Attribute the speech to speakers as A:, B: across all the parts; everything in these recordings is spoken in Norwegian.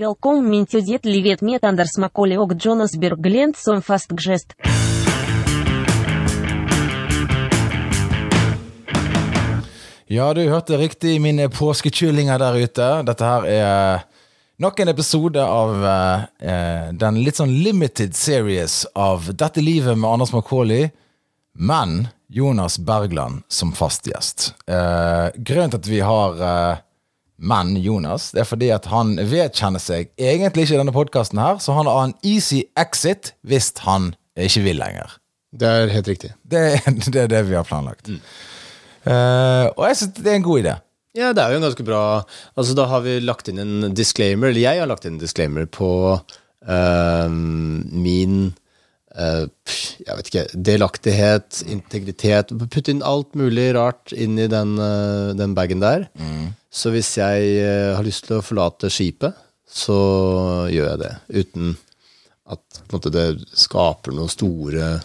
A: Velkommen min tjudet livet med Anders Macaulay och Jonas Berglund som fast gest.
B: Ja, du hørte riktig, mine påskekyllinger der ute. Dette her er nok en episode av eh, den litt sånn limited series av Dette livet med Anders Macauley, men Jonas Bergland som fast gjest. Eh, grunnen til at vi har eh, men Jonas, det er fordi at han vedkjenner seg egentlig ikke i denne podkasten her, så han har en easy exit hvis han ikke vil lenger.
C: Det er helt riktig.
B: Det, er- det er det vi har planlagt. Eh, og jeg syns det er en god idé.
C: Ja, det er jo en ganske bra Altså, da har vi lagt inn en disclaimer, eller jeg har lagt inn en disclaimer på eh, min eh, pff, Jeg vet ikke Delaktighet, integritet Putt inn alt mulig rart inn i den, eh, den bagen der. Så hvis jeg eh, har lyst til å forlate skipet, så gjør jeg det. Uten at på en måte, det skaper noen store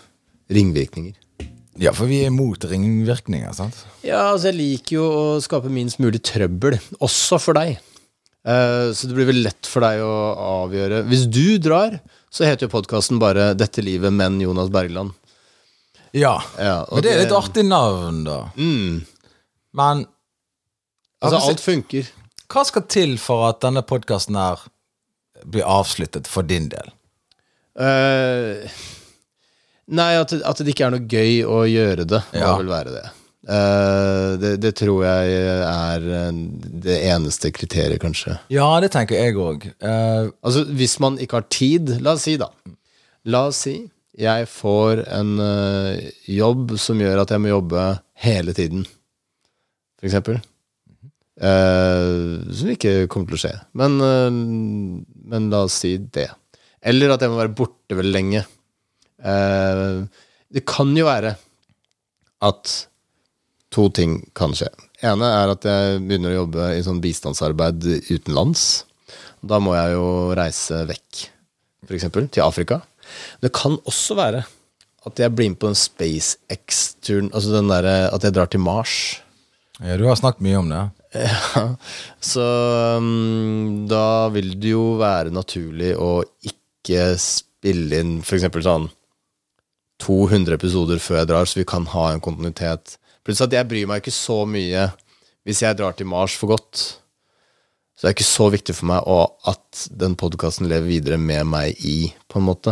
C: ringvirkninger.
B: Ja, for vi er imot ringvirkninger, sant?
C: Ja, altså jeg liker jo å skape minst mulig trøbbel, også for deg. Eh, så det blir vel lett for deg å avgjøre. Hvis du drar, så heter jo podkasten bare 'Dette livet, men Jonas Bergland'.
B: Ja.
C: Ja, og
B: Men det er
C: det-
B: litt artig navn, da. Men
C: Altså,
B: Ja,
C: alt funker.
B: hva skal til for at denne podkasten her blir avsluttet for din del?
C: Eh, nei, at, at det ikke er noe gøy å gjøre det, må
B: Ja.
C: vel være det. Eh, det. Det tror jeg er eh, det eneste kriteriet, kanskje.
B: Ja, det tenker jeg Eh, òg.
C: Altså, hvis man ikke har tid La oss si, da. La oss si jeg får en ø, jobb som gjør at jeg må jobbe hele tiden, for eksempel. Eh, som ikke kommer til å skje. Men, ø, men la oss si det. Eller at jeg må være borte veldig lenge. Eh, det kan jo være at to ting kan skje. ene er at jeg begynner å jobbe i sånn bistandsarbeid utenlands. Da må jeg jo reise vekk, f.eks. til Afrika. Det kan også være at jeg blir med på den SpaceX-turen, altså den derre at jeg drar til Mars.
B: ja, du har snakket mye om det.
C: Ja, så mm, da vil det jo være naturlig å ikke spille inn f.eks. sånn 200 episoder før jeg drar, så vi kan ha en kontinuitet. Plutselig at jeg bryr meg ikke så mye hvis jeg drar til Mars for godt. Så det er ikke så viktig for meg å, at den podkasten lever videre med meg i, på en måte.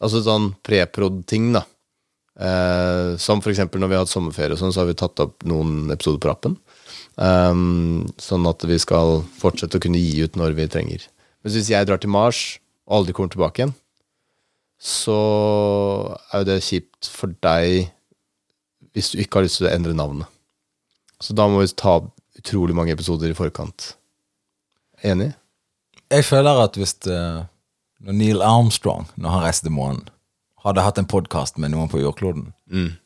C: Altså sånn preprod-ting, da. Eh, som for eksempel når vi har hatt sommerferie og sånn, så har vi tatt opp noen episoder på rappen. Ehm, sånn at vi skal fortsette å kunne gi ut når vi trenger. Men hvis jeg drar til Mars og aldri kommer tilbake igjen, så er jo det kjipt for deg hvis du ikke har lyst til å endre navnet. Så da må vi ta utrolig mange episoder i forkant. Enig?
B: Jeg føler at hvis eh, når Neil Armstrong, når han reiste til månen, hadde hatt en podkast med noen på jordkloden,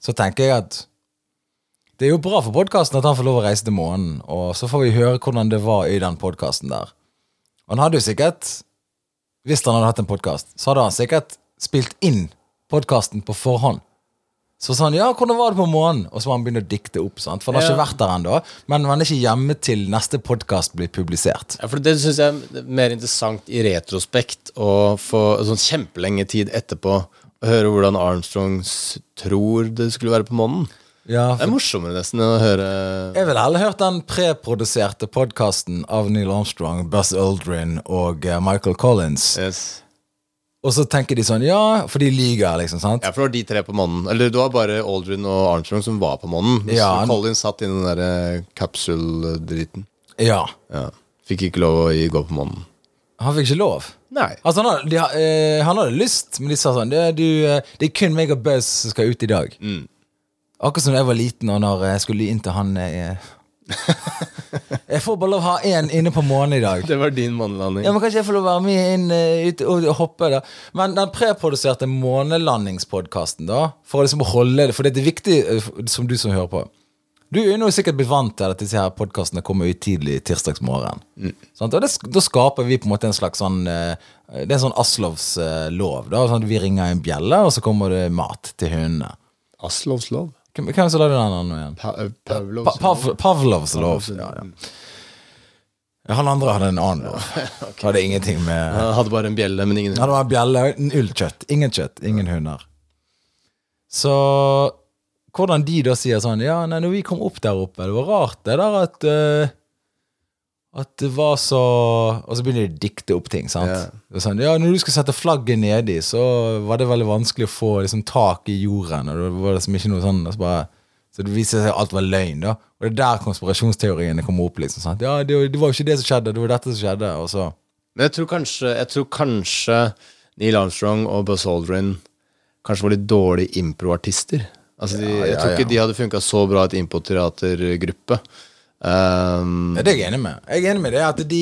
B: så tenker jeg at det er jo bra for podkasten at han får lov å reise til månen, og så får vi høre hvordan det var i den podkasten der. Og han hadde jo sikkert, hvis han hadde hatt en podkast, så hadde han sikkert spilt inn podkasten på forhånd. Så sa han ja, hvordan var det på månen? Og så må han begynne å dikte opp, sant? for han har
C: Ja.
B: ikke vært der ennå. Men han er ikke hjemme til neste podkast blir publisert.
C: Ja, for det syns jeg er mer interessant i retrospekt å få sånn kjempelenge tid etterpå å høre hvordan Armstrong s- tror det skulle være på månen.
B: Ja,
C: Det er morsommere nesten enn å høre
B: Jeg ville heller hørt den preproduserte podkasten av Neil Armstrong, Buzz Aldrin og eh, Michael Collins.
C: Yes.
B: Og så tenker de sånn, ja, for de lyver, liksom. sant?
C: Ja, for det var de tre på månen. Eller det var bare Aldrin og Armstrong som var på månen. Mens
B: Ja.
C: Colin satt i den derre kapsuldriten.
B: Ja.
C: Ja. Fikk ikke lov å gi- gå på månen.
B: Han fikk ikke lov.
C: Nei.
B: Altså, han hadde, de, ha- eh, han hadde lyst, men de sa sånn Det, du, eh, det er kun meg og Buzz som skal ut i dag. Akkurat som da jeg var liten, og når jeg skulle inn til han eh, Jeg får bare lov å ha én inne på månen i dag.
C: Det var din månelanding.
B: Ja, men Kanskje jeg får lov å være med inn eh, ut, og og hoppe. da Men den preproduserte månelandingspodkasten, da For å liksom holde det For det er viktig, eh, f- som du som hører på Du er jo nå sikkert blitt vant til at disse her podkastene kommer ut tidlig tirsdagsmorgen. Sant? Og det, sk- da skaper vi på en måte en slags sånn eh, Det er en sånn Aslovs eh, lov. da sånn at Vi ringer en bjelle, og så kommer det mat til hundene.
C: Aslovs lov.
B: Hvem hvem er
C: eh,
B: det som lagde den andre igjen?
C: Pa Pavlovs
B: Pa Pav Pavlovs lov. Ja, ja. Han andre hadde en annen lov. Hadde ingenting med
C: Han hadde bare en bjelle, men ingen
B: Ja, det var bjelle, ullkjøtt. Ingen kjøtt, ingen hunder. Så hvordan de da sier sånn Ja, nei, når vi kom opp der oppe, det var rart det der at eh, At det var så Og så begynner de å dikte opp ting, sant.
C: Ja.
B: Det er Sånn, ja, når du skal sette flagget nedi, så var det veldig vanskelig å få liksom, tak i jorden, og det var liksom ikke noe sånn og så bare så det viste seg at alt var løgn. da Og det er der konspirasjonsteoriene kommer opp. liksom sant? Ja, det, det var jo ikke det som skjedde, det var dette som skjedde. Og så
C: Men jeg tror kanskje, jeg tror kanskje Neil Armstrong og Buzz Aldrin kanskje var litt dårlige improartister. Altså de, jeg tror ikke de hadde funka så bra i et impoteatergruppe. Um,
B: Ja, det er jeg enig med. Jeg er enig med det At de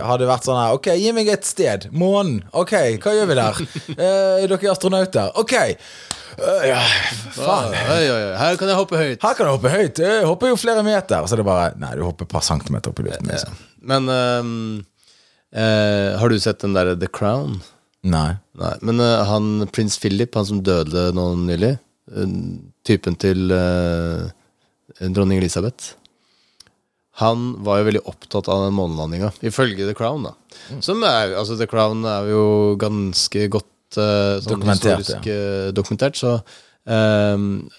B: hadde vært sånn her Ok, gi meg et sted. Månen. Ok, hva gjør vi der? Eh, dere er astronauter. Ok. Eh, ja, faen.
C: Oi, oi, oi, her kan jeg hoppe høyt.
B: Her kan du hoppe høyt. Jeg hopper jo flere meter. Og så er det bare Nei, du hopper et par centimeter opp i luften. Liksom.
C: Men um, eh, har du sett den derre The Crown?
B: Nei.
C: Nei. Men eh, han prins Philip, han som døde nå nylig, eh, typen til eh, dronning Elisabeth Han var jo veldig opptatt av den månelandinga, ifølge The Crown. da Som er, altså The Crown er jo ganske godt eh, sånn
B: Dokumentert,
C: historisk eh, dokumentert, så eh,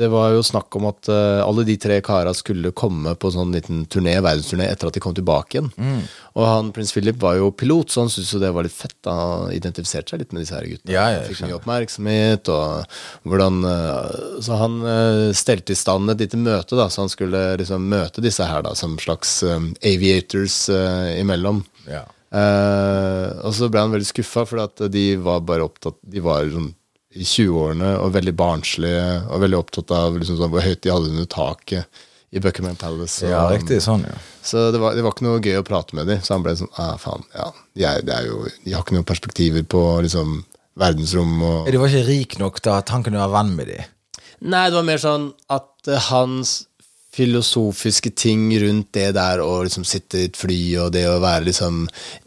C: det var jo snakk om at eh, alle de tre kara skulle komme på sånn liten turné, verdensturné etter at de kom tilbake igjen.
B: Mm.
C: Og han, prins Philip var jo pilot, så han syntes jo det var litt fett. Da. Han identifiserte seg litt med disse her guttene.
B: Ja, ja, jeg
C: Fikk mye oppmerksomhet, og hvordan eh, Så han eh, stelte i stand et lite møte, da, så han skulle liksom møte disse her da, som slags eh, aviators eh, imellom.
B: Ja.
C: Eh, og så ble han veldig skuffa, for at de var bare opptatt De var sånn i 20-årene og veldig barnslige og veldig opptatt av liksom, sånn, hvor høyt de hadde under taket i Buckingham Palace. Og,
B: ja, riktig. Sånn, ja.
C: Så det var, det var ikke noe gøy å prate med dem. Så han ble sånn ah, faen, ja, de, er, det er jo, de har ikke noen perspektiver på liksom, verdensrom og
B: De var ikke rik nok til at han kunne være venn med de.
C: Nei, det var mer sånn at eh, hans filosofiske ting rundt det der å liksom sitte i et fly og det å være liksom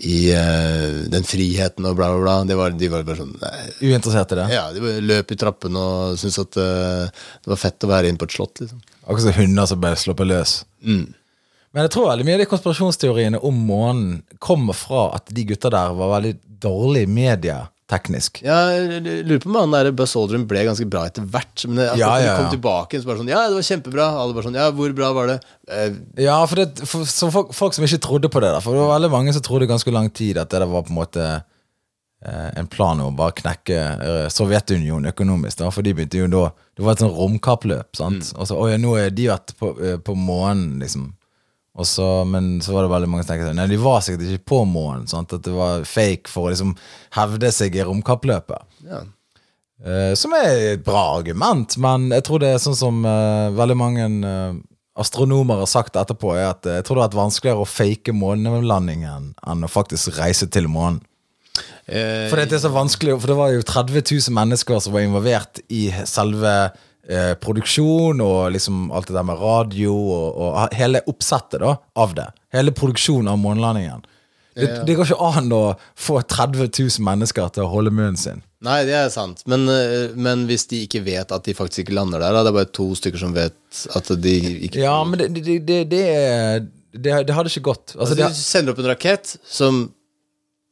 C: i eh, den friheten og bla, bla, bla. Det var, de var bare sånn nei,
B: Uinteressert i det.
C: Ja, de bare løp i trappene og syntes at eh, det var fett å være inne på et slott, liksom. Mm.
B: Akkurat som hunder som bare slipper løs. Men jeg tror veldig mye av de konspirasjonsteoriene om månen kommer fra at de gutta der var veldig dårlig medieteknisk.
C: Ja, jeg lurer på om han der Buzz Aldrin ble ganske bra etter hvert. Men det, altså,
B: Ja,
C: når
B: ja,
C: de
B: ja.
C: kom tilbake så bare sånn Ja, det var kjempebra. Alle bare sånn Ja, hvor bra var det? Eh,
B: Ja, for, det, for, så folk, folk som ikke trodde på det da, For det var veldig mange som trodde ganske lang tid At det der var på en måte eh, En plan om å bare knekke eh, Sovjetunionen økonomisk da, For de begynte jo da Det var et sånn romkappløp sant? Og så, åja, nå er de vært på, eh, på månen liksom og så, men så var det veldig mange som tenkte sånn, Nei, de var sikkert ikke på månen sant? At det var fake for å liksom hevde seg i romkappløpet
C: ja.
B: Eh, som er et bra argument, men jeg tror det er sånn som eh, veldig mange eh, astronomer har sagt etterpå, er at eh, jeg tror det har vært vanskeligere å fake månelandingen enn å faktisk reise til månen.
C: Eh,
B: For det er så vanskelig, for det var jo 30 000 mennesker som var involvert i selve eh, produksjon og liksom alt det der med radio og, og hele oppsettet da, av det. Hele produksjonen av månelandingen. Det, det går ikke an å få 30 000 mennesker til å holde munnen sin.
C: Nei, det er sant. Men, eh, men hvis de ikke vet at de faktisk ikke lander der, da. Det er bare to stykker som vet at de ikke
B: Ja, men det, det, det, det, er- det, det hadde ikke gått. Altså,
C: Altså,
B: det,
C: Hvis du sender opp en rakett som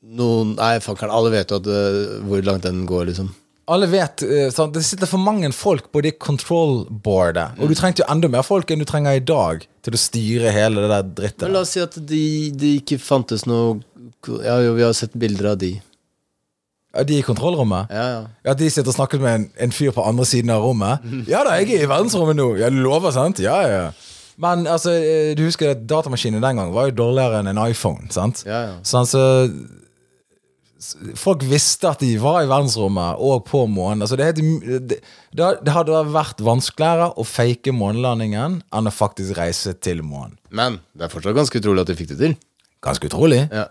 C: noen Nei, fankeren, alle vet jo at, eh, hvor langt den går, liksom.
B: alle vet eh, sant? Det sitter for mange folk på det control-boardet.
C: Mm.
B: Og du trengte jo enda mer folk enn du trenger i dag til å styre hele det der
C: Men
B: drittet.
C: la oss si at de, de ikke fantes noe Ja, jo, vi har sett bilder av de.
B: Ja, de i kontrollrommet?
C: Ja, ja.
B: Ja, De sitter og snakker med en, en fyr på andre siden av rommet? Ja da, jeg er i verdensrommet nå! Jeg lover, sant? Ja, ja. Men altså, eh, du husker at datamaskinen den gang var jo dårligere enn en iPhone. sant?
C: Ja, ja.
B: Sånn, så Folk visste at de var i verdensrommet og på månen. Altså, det, er helt im- det, det har- det hadde vært vanskeligere å fake månelandingen enn å faktisk reise til månen.
C: Men det er fortsatt ganske utrolig at de fikk det til.
B: Ganske utrolig.
C: Ja.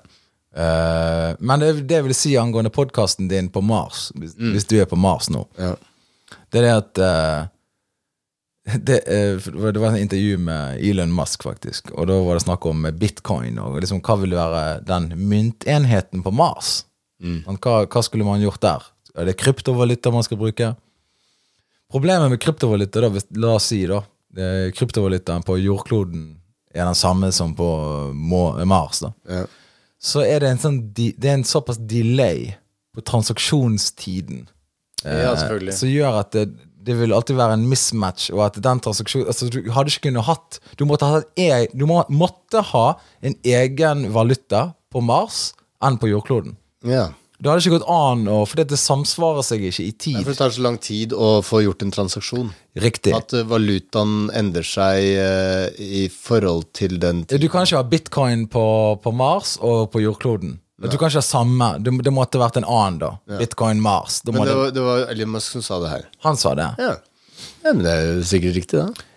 B: Eh, men det, det vil si angående podkasten din på Mars, hvis,
C: Mm.
B: hvis du er på Mars nå,
C: Ja.
B: det er det at eh, det, eh, for det var et intervju med Elon Musk, faktisk. Og da var det snakk om bitcoin. Og liksom, hva ville være den myntenheten på Mars? Sånn, Hva, hva skulle man gjort der? Er det kryptovaluta man skal bruke? Problemet med kryptovaluta, da, hvis, la oss si da eh, kryptovalutaen på jordkloden er den samme som på Må- Mars, da,
C: Ja.
B: så er det en, sånn, di- det er en såpass delay på transaksjonstiden
C: ja, selvfølgelig.
B: som gjør at det, det vil alltid være en mismatch, og at den transaksjonen altså, Du hadde ikke kunnet hatt Du måtte ha, e, du må, måtte ha en egen valuta på Mars enn på jordkloden.
C: Ja.
B: Det hadde ikke gått an, å- for det samsvarer seg ikke i
C: Ja, For
B: tid.
C: det tar så lang tid å få gjort en transaksjon.
B: Riktig.
C: At eh, valutaen endrer seg eh, i forhold til den
B: Du kan ikke ha bitcoin på, på Mars og på jordkloden. Du kan ikke ha samme. Det, det måtte vært en annen, da. Bitcoin Mars. Da må
C: Men det
B: det,
C: var, det var Elon Musk som sa det her.
B: han sa det.
C: Ja. ja, men det er jo sikkert riktig, da.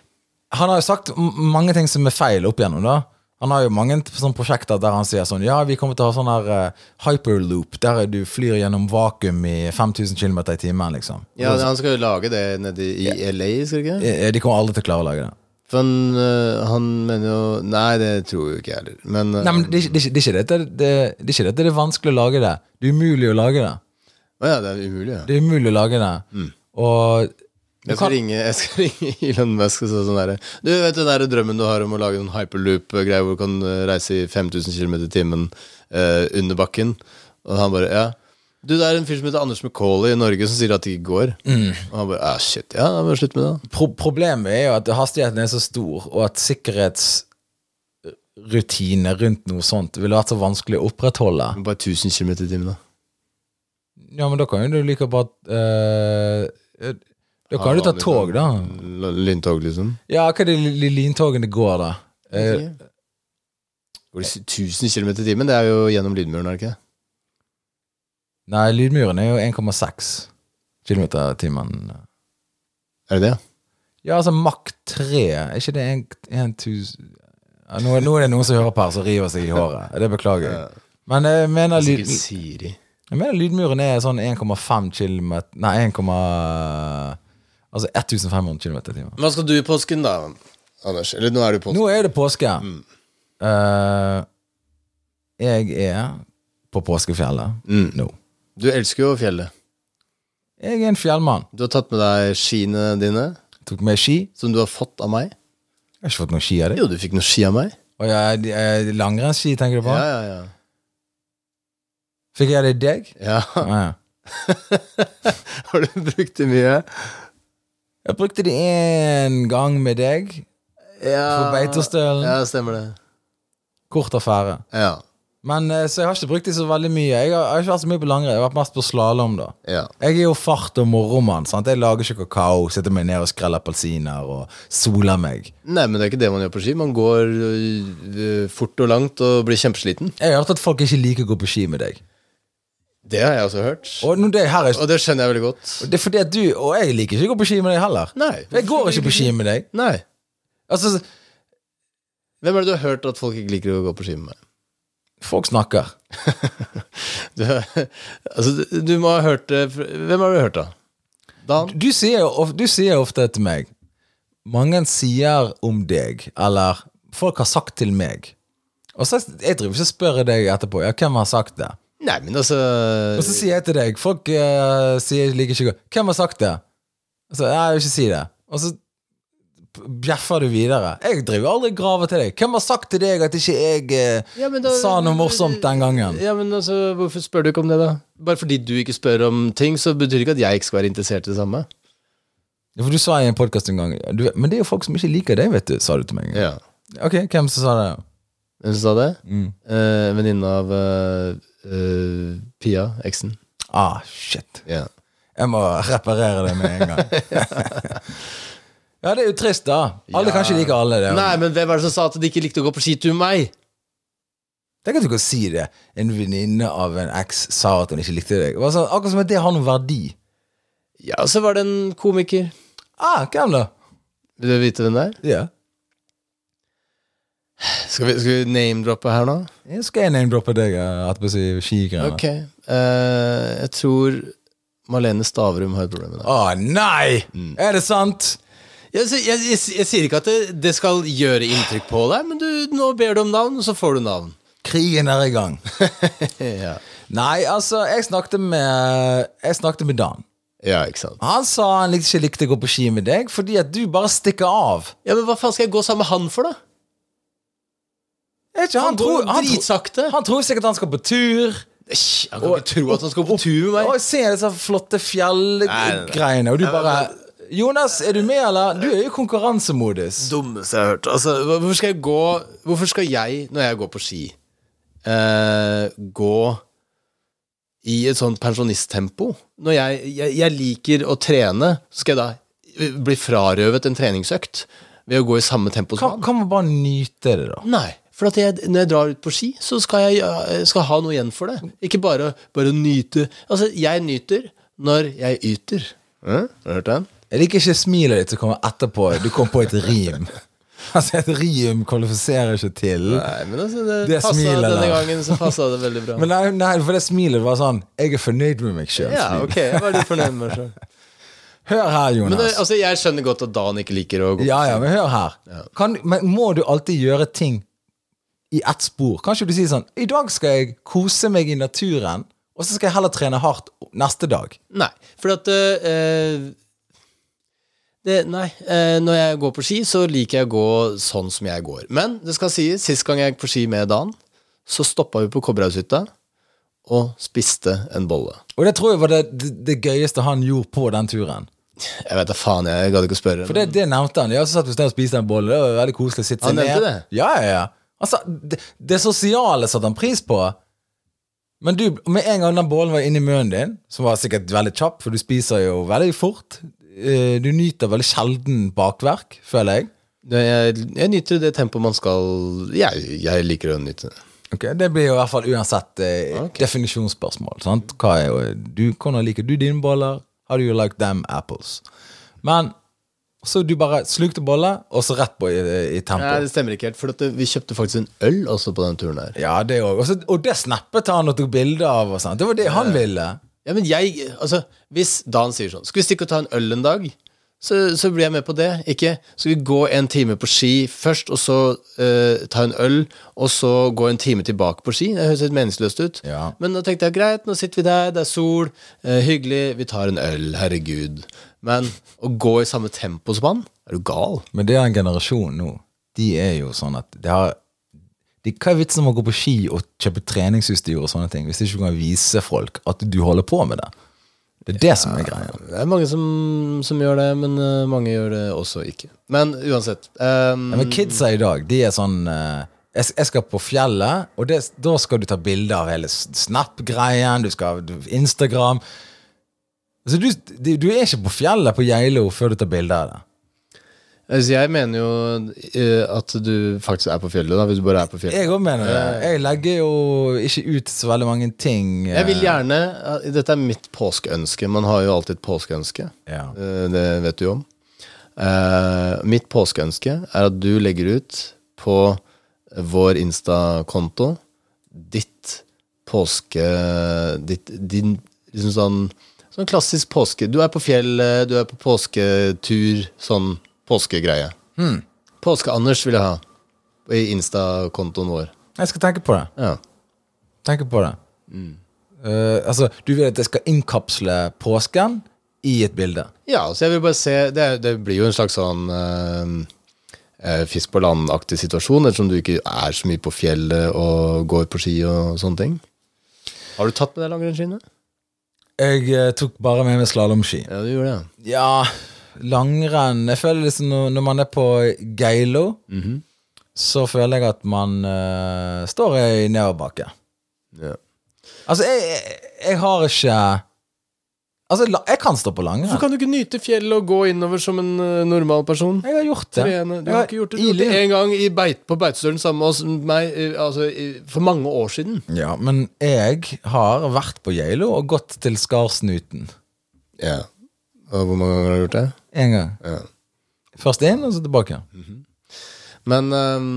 B: Han har jo sagt m- mange ting som er feil opp igjennom da Han har jo mange t- sånne prosjekter der han sier sånn Ja, vi kommer til å ha sånn her eh, hyperloop Der du flyr gjennom vakuum i 5000 km i timen liksom
C: Ja, Han skal jo lage det nede i LA, skal det ikke? det?
B: Eh, De kommer aldri til å klare å lage det
C: For han, øh, han mener jo Nei, det tror jo ikke jeg heller. Men, øh,
B: Nei, men det, er ikke- det, er ikke- det, er ikke dette- det, det er ikke dette det er vanskelig å lage det Det er umulig å lage det
C: eh, å ja, det er umulig, ja.
B: Det er umulig å lage det Og
C: Jeg skal, ringe, jeg skal ringe Elon Musk og si sånn derre Du vet den der drømmen du har om å lage en hyperloop-greie hvor du kan øh, reise i 5000 km i timen øh, under bakken? Og han bare Ja. Du, det er en fyr som heter Anders McCauley i Norge som sier at det ikke går. Og han bare Ja, shit. Ja, da må jeg slutte med det. da."
B: pro problemet er jo at hastigheten er så stor, og at sikkerhetsrutine rundt noe sånt ville vært så vanskelig å opprettholde.
C: Men Bare 1000 km i timen, da.
B: Ja, men da kan jo du like bra eh, Da kan
C: Ja, sånn.
B: du ta
C: vanlig
B: tog, da.
C: L- Lyntog, liksom.
B: Ja, hva er det li- lyntogene går, da? Eh,
C: Går det 1000 km i timen? Det er jo gjennom lydmuren, er det ikke? det?
B: nei, lydmuren er jo 1,6 km i timen.
C: Er det det?
B: Ja, altså Mach 3. Er ikke det 1000 ja, nå, nå er det noen som hører på her, som river seg i håret. Det beklager jeg. Men eh, jeg mener, lyd,
C: Sikkert Siri.
B: jeg mener lydmuren er sånn 1,5 km Nei, 1, altså 1500 km i timen.
C: Hva skal du i påsken, da, Anders? Eller nå er du i påsken.
B: Nå er det påske.
C: Mm.
B: Eh, jeg er på påskefjellet nå.
C: Mm. Du elsker jo fjellet.
B: Jeg er en fjellmann.
C: Du har tatt med deg skiene dine,
B: Tok med ski.
C: som du har fått av meg.
B: Jeg har ikke fått noen ski av dem.
C: Jo, du fikk noen ski av meg.
B: Og jeg, de- eh, langrennsski, tenker du på?
C: Ja, ja, ja.
B: Fikk jeg det i deg?
C: ja.
B: Ja.
C: Har du brukt det mye?
B: Jeg brukte de én gang med deg.
C: Ja.
B: På Beitostølen.
C: Ja, stemmer det.
B: Kort affære.
C: Ja.
B: Men eh, Så jeg har ikke brukt de så veldig mye. Jeg har, jeg har ikke vært så mye på langrenn. Jeg har vært mest på slalåm, da.
C: ja.
B: Jeg er jo fart- og moromann. sant? Jeg lager ikke kakao, sitter meg ned og skreller appelsiner og soler meg.
C: Nei, men det er ikke det man gjør på ski. Man går øh, fort og langt og blir kjempesliten.
B: Jeg har hørt at folk ikke liker å gå på ski med deg.
C: Det har jeg også hørt.
B: Og nå, det her er
C: Og det skjønner jeg veldig godt.
B: det er fordi at du og jeg liker ikke å gå på ski med deg heller.
C: Nei.
B: For Jeg går ikke på ski med deg.
C: Nei.
B: Altså,
C: Hvem er det du har hørt at folk ikke liker å gå på ski med?
B: folk snakker.
C: Du, altså, du må ha hørt det fra- Hvem har du hørt, da? Dan?
B: Du sier, jo of- du sier ofte til meg Mange sier om deg, eller folk har sagt til meg. Og så Jeg driver ikke og spør deg etterpå. Ja, hvem har sagt det?
C: Nei, men altså
B: Og så sier jeg til deg Folk eh, sier liker ikke å gå Hvem har sagt det? Og så, Nei, jeg vil ikke si det. Og så bjeffer du videre. Jeg driver aldri og graver til deg. Hvem har sagt til deg at ikke jeg eh,
C: Ja, men da-
B: sa noe morsomt den gangen?
C: Ja, men altså, Hvorfor spør du ikke om det, da? Bare fordi du ikke spør om ting, så betyr det ikke at jeg ikke skal være interessert i det samme.
B: Ja, For du sa i en podkast en gang du, Men det er jo folk som ikke liker deg, vet du, sa du til meg.
C: Ja.
B: Ok, hvem som sa det?
C: Hvem sa det? Eh, en Venninne av eh, eh, Pia, eksen.
B: Ah, shit.
C: Ja.
B: Jeg må reparere det med en gang. ja, det er jo trist, da. Alle kan ikke like alle. det er jo-
C: Nei, men hvem er det som sa at de ikke likte å gå på skitur med meg?
B: Tenk at du kan si det. En venninne av en eks sa at hun ikke likte deg. Det var sånn, akkurat som at det har noen verdi.
C: Ja, så var det en komiker.
B: Ah, hvem da?
C: Vil du vite hvem det er?
B: Ja.
C: Skal vi, skal vi name-droppe her nå?
B: Jeg skal jeg name-droppe deg eh, etterpå, si skigreiene.
C: Ok. eh, jeg tror Malene Stavrum har et problem med det.
B: Å nei!
C: Mm.
B: Er det sant?
C: Jeg, jeg, jeg, jeg sier ikke at det, det skal gjøre inntrykk på deg, men du, nå ber du om navn, og så får du navn.
B: Krigen er i gang.
C: ja.
B: Nei, altså, jeg snakket med Jeg snakket med Dan.
C: ja, ikke sant.
B: Han sa han likte ikke likte å gå på ski med deg fordi at du bare stikker av.
C: Ja, Men hva faen skal jeg gå sammen med han for, da?
B: Jeg vet ikke,
C: Han går
B: han,
C: dritsakte.
B: han tror sikkert han skal på tur.
C: Æsj, Jeg kan ikke tro at han skal på tur med
B: Og
C: meg.
B: se disse flotte
C: nei, nei.
B: fjellgreiene, og du bare Jonas, er du med, eller? Du er jo i konkurransemodus.
C: Dummeste jeg har hørt. Altså, hva- hvorfor skal jeg gå Hvorfor skal jeg, når jeg går på ski, eh, gå i et sånt pensjonisttempo? Når jeg, jeg, jeg liker å trene, skal jeg da bli frarøvet en treningsøkt ved å gå i samme tempo som
B: Kan,
C: han?
B: kan man bare nyte det, da?
C: Nei. For at jeg, når jeg drar ut på ski, så skal jeg, jeg skal ha noe igjen for det. Ikke bare, bare nyte. Altså, jeg nyter når jeg yter. Mm, har du hørt den?
B: Jeg liker ikke smilet ditt som kommer etterpå. Du kom på et rim. Altså, et rim kvalifiserer ikke til.
C: Nei, men altså, det,
B: Det
C: passet
B: smilet
C: denne
B: der.
C: gangen, så passa det veldig bra.
B: Men nei, nei, for det smilet var sånn Jeg er fornøyd med meg sjøl.
C: ja, ok, hva er du fornøyd med sjøl?
B: Hør her,
C: Men det,
B: Jonas.
C: altså, jeg skjønner godt at Dan ikke liker å gå
B: Ja, ja, men hør her. Kan, men må du alltid gjøre ting i ett spor? Kan ikke du si sånn I dag skal jeg kose meg i naturen, og så skal jeg heller trene hardt neste dag.
C: Nei, for at eh, det, Nei, eh, når jeg går på ski, så liker jeg å gå sånn som jeg går. Men det skal sies, sist gang jeg gikk på ski med Dan, så stoppa vi på Kobberhaughytta og spiste en bolle.
B: Og det tror jeg var det, det, det gøyeste han gjorde på den turen.
C: Jeg vet da faen, jeg gadd ikke å spørre.
B: For det, det nevnte han. Ja, så satt vi sted og spiste en bolle. Det var veldig koselig. Sitte seg
C: Han nevnte
B: ned.
C: det?
B: Ja, ja, ja. Altså, det, det sosiale satte han pris på. Men du, med en gang den bollen var inni munnen din, som var sikkert veldig kjapp, for du spiser jo veldig fort eh, Du nyter veldig sjelden bakverk, føler jeg.
C: Det- jeg, jeg nyter det tempoet man skal Jeg, jeg liker å nyte det.
B: Ok, Det blir jo i hvert fall uansett eh,
C: Ok.
B: definisjonsspørsmål. Sant? Hva er, du, hvordan liker du dine boller? How do you like them apples? Men så du bare slukte bolle, og så rett på i, i tempo.
C: Nei, det stemmer ikke helt, for at det- vi kjøpte faktisk en øl også på den turen her.
B: Ja, det òg. Og, så- og det snappet han og tok bilde av. og sånt. Det var det han ville.
C: Ja, men jeg, altså, Hvis Dan sier sånn Skal vi stikke og ta en øl en dag? Så, så blir jeg med på det. Ikke skal vi gå en time på ski først, og så eh, ta en øl, og så gå en time tilbake på ski? Det høres litt meningsløst ut.
B: Ja.
C: Men da tenkte jeg greit, nå sitter vi der, det er sol, eh, hyggelig, vi tar en øl, herregud. Men å gå i samme tempo som han, er du gal?
B: Men det er en generasjon nå. De er jo sånn at det har de, Hva er vitsen med å gå på ski og kjøpe treningsutstyr og sånne ting hvis ikke du kan vise folk at du holder på med det? Det er det som er greia.
C: Det er mange som, som gjør det, men eh, mange gjør det også ikke. Men uansett. ehm,
B: Ja, men kidsa i dag, de er sånn eh, jeg, jeg skal på fjellet, og det, da skal du ta bilde av hele s- Snap-greien, du skal du, Instagram Altså, du, du, du er ikke på fjellet på Geilo før du tar bilde av det.
C: Altså, jeg mener jo eh, at du faktisk er på fjellet, da, hvis du bare er på fjellet.
B: Jeg òg mener det. Jeg legger jo ikke ut så veldig mange ting. eh,
C: Jeg vil gjerne eh, Dette er mitt påskeønske. Man har jo alltid et påskeønske.
B: Ja.
C: Eh, Det vet du jo om. Eh, mitt påskeønske er at du legger ut på vår Insta-konto ditt påske... Ditt, din liksom sånn Sånn klassisk påske. Du er på fjellet, du er på påsketur. Sånn påskegreie. Påske-Anders vil jeg ha. I Insta-kontoen vår.
B: Jeg skal tenke på det.
C: Ja.
B: Tenke på det.
C: Mm.
B: Eh, altså, du vil at jeg skal innkapsle påsken i et bilde?
C: Ja, så jeg vil bare se Det, er- det blir jo en slags sånn eh, eh, fisk på land-aktig situasjon, ettersom du ikke er så mye på fjellet og går på ski og sånne ting. Har du tatt med deg langrennsskiene?
B: Jeg eh, tok bare med meg slalåmski.
C: Ja, du gjorde det.
B: Ja, langrenn Jeg føler liksom når, når man er på Geilo,
C: Mhm.
B: så føler jeg at man eh, står i nedoverbakke.
C: Ja.
B: Altså, jeg, jeg, jeg har ikke Altså, la- jeg kan stå på langrenn.
C: Hvorfor kan du ikke nyte fjellet og gå innover som en eh, normal person?
B: Jeg har gjort det.
C: Trene. Du
B: Jeg
C: har ikke gjort det, du
B: i
C: har gjort det
B: liv.
C: en gang i beit, på Beitostølen sammen med oss, meg, eh, altså, i- for mange år siden.
B: Ja, men jeg har vært på Geilo og gått til Skarsnuten.
C: Ja. Og hvor mange ganger har du gjort det?
B: En gang.
C: Ja.
B: Først inn, og så tilbake.
C: Men eh,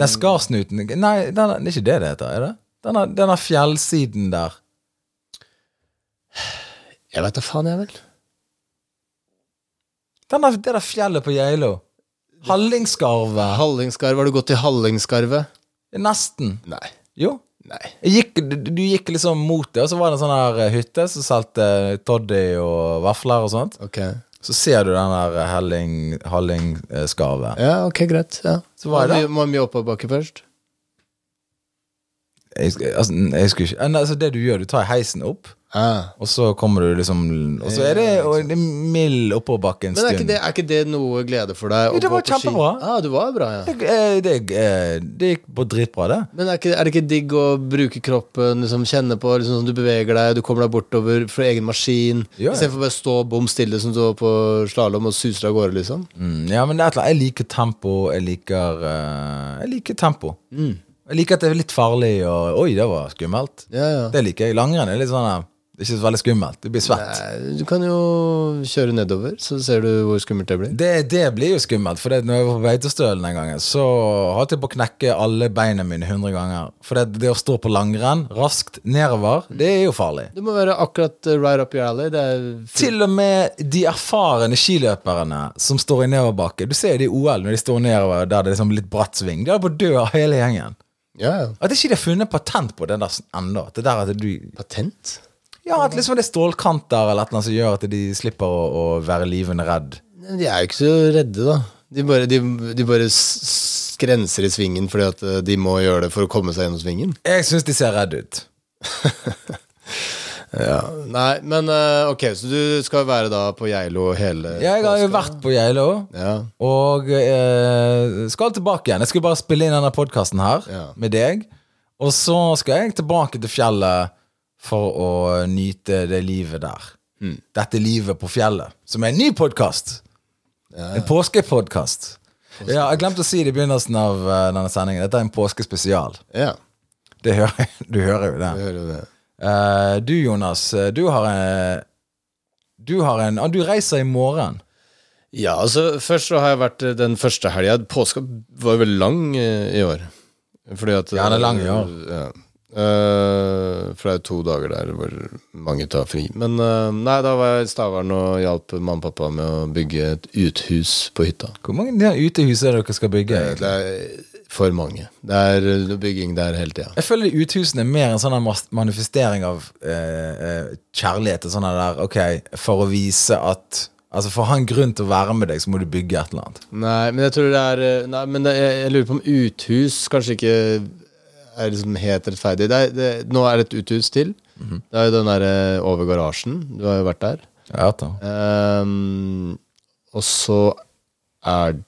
B: Den Skarsnuten Nei, den er det er ikke det det heter, er det? Denne, denne fjellsiden der.
C: Jeg veit da faen, jeg, vel.
B: Denne, det der fjellet på Geilo. Hallingskarvet.
C: Hallingskarv, Har du gått i Hallingskarvet?
B: Nesten.
C: Nei.
B: Jo.
C: Nei.
B: Jeg Gikk, du- du gikk liksom mot det, og så var det en sånn her hytte som solgte toddy og vafler og sånt.
C: Ok.
B: Så ser du den der Helling- Hallingskarvet.
C: Ja, ok, greit. Ja.
B: Så var jeg
C: Må mye oppoverbakke først.
B: jeg, sk- altså, jeg skulle ikke Nei, altså, Det du gjør, du tar heisen opp,
C: Ah.
B: og så kommer du liksom Og så er det, og det er mild oppoverbakke en
C: Men er ikke,
B: stund.
C: det, er ikke det noe glede for deg? å
B: Jo, det
C: gå
B: var
C: på ski?
B: kjempebra.
C: Ja, det var bra, ja.
B: Det, eh, det, eh, det gikk på dritbra, det.
C: Men er, ikke, er det ikke digg å bruke kroppen, liksom, kjenne på liksom, sånn Du beveger deg, du kommer deg bortover fra egen maskin.
B: Ja, ja.
C: Istedenfor bare stå bom stille som du var på slalåm og suser av gårde, liksom.
B: Mm, ja, men det er et eller annet. Jeg liker tempo. Jeg liker, eh, jeg liker tempo. Jeg liker at det er litt farlig og Oi, det var skummelt.
C: Mm. Ja, ja.
B: Det liker jeg. Langrenn er litt sånn eh, Det er ikke så veldig skummelt. Du blir svett.
C: Nei, Du kan jo kjøre nedover, så ser du hvor skummelt det blir.
B: Det, det blir jo skummelt, for det, når jeg var på Beitostølen den gangen, så holdt jeg på å knekke alle beina mine 100 ganger. For det, det å stå på langrenn raskt nedover, det er jo farlig.
C: Du må være akkurat eh, right up your alley. Det er fint.
B: Til og med de erfarne skiløperne som står i nedoverbakke. Du ser jo det i OL når de står nedover der det er liksom litt bratt sving. De er på å dø av hele gjengen.
C: Ja, ja.
B: At ikke de har funnet patent på det der ennå. At det der at du
C: Patent?
B: Ja, at liksom det er stålkanter eller et eller annet som gjør at de slipper å, å være livende redd.
C: Nei, De er jo ikke så redde, da. De bare, de, de bare s- s- grenser i svingen fordi at eh, de må gjøre det for å komme seg gjennom svingen.
B: Jeg syns de ser redde ut.
C: Nei, men eh, ok, så du skal være da på Geilo hele
B: Jeg har jo
C: påska?
B: vært på Geilo,
C: Ja.
B: og eh, skal tilbake igjen. Jeg skulle bare spille inn denne podkasten her
C: Ja.
B: med deg. Og så skal jeg tilbake til fjellet for å nyte det livet der. Dette livet på fjellet, som er en ny podkast. En påskepodkast. Ja, jeg glemte å si det i begynnelsen av eh, denne sendingen. Dette er en påskespesial.
C: ja.
B: Det hører, du hører jo det.
C: Jeg hører jo det.
B: Eh, du, Jonas, eh, du har en Du har en ah, Du reiser i morgen.
C: Ja, altså først så har jeg vært eh, den første helga Påska var jo veldig lang eh, i år. Fordi at
B: Ja, den er lang i år.
C: Ja. Eh, for det er jo to dager der hvor mange tar fri. Men eh, nei, da var jeg i Stavern og hjalp mamma og pappa med å bygge et uthus på hytta.
B: Hvor mange de her utehus er det dere skal bygge? egentlig?
C: Det er for mange. Det er eh, bygging der hele tida.
B: Jeg føler de uthusene er mer en sånn her mas- manifestering av eh, eh, kjærlighet. og Sånn her der, ok, For å vise at Altså For å ha en grunn til å være med deg, så må du bygge et eller annet.
C: Nei, men jeg tror det er eh, Nei, men det, jeg, jeg lurer på om uthus kanskje ikke er liksom helt rettferdig. Det er, det, nå er det et uthus til. Det er jo den derre over garasjen. Du har jo vært der.
B: Ja, da.
C: Ehm, og så er det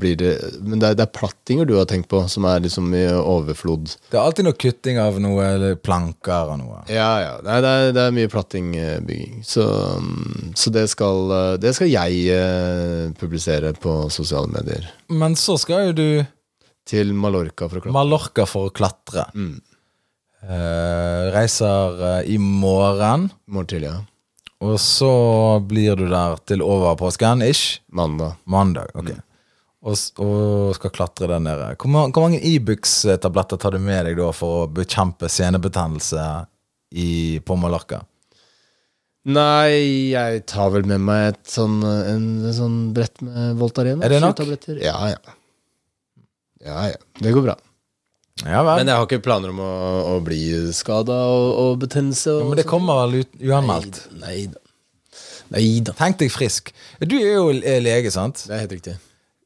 C: Blir det Men det er, det er plattinger du har tenkt på, som er liksom i overflod.
B: Det er alltid noe kutting av noe, eller planker og noe.
C: Ja, ja. Nei, det er, det er mye plattingbygging. Så, mm, så det, skal, eh, det skal jeg eh, publisere på sosiale medier.
B: Men så skal jo du
C: Til Mallorca for å klatre.
B: Mallorca for å klatre. Eh, reiser eh, i morgen,
C: I morgen tidlig, ja.
B: og så blir du der til over påsken, ish.
C: Mandag.
B: Mandag, ok. Og, s- og skal klatre der nede. Hvor, ma hvor mange Ibux-tabletter tar du med deg da for å bekjempe senebetennelse i, på Mallorca?
C: Nei, jeg tar vel med meg et sånn, en, en sånn brett med Voltaren. da.
B: Er det
C: Sju
B: nok?
C: tabletter. Ja, ja. Ja, ja. Det går bra.
B: Ja vel.
C: Men
B: Men,
C: jeg har ikke planer om å, å bli skada og, og betennelse. Og sånn.
B: det kommer vel ut uanmeldt.
C: Nei da. Nei da.
B: Tenk deg frisk. Du er jo l- er lege, sant?
C: Det er helt riktig.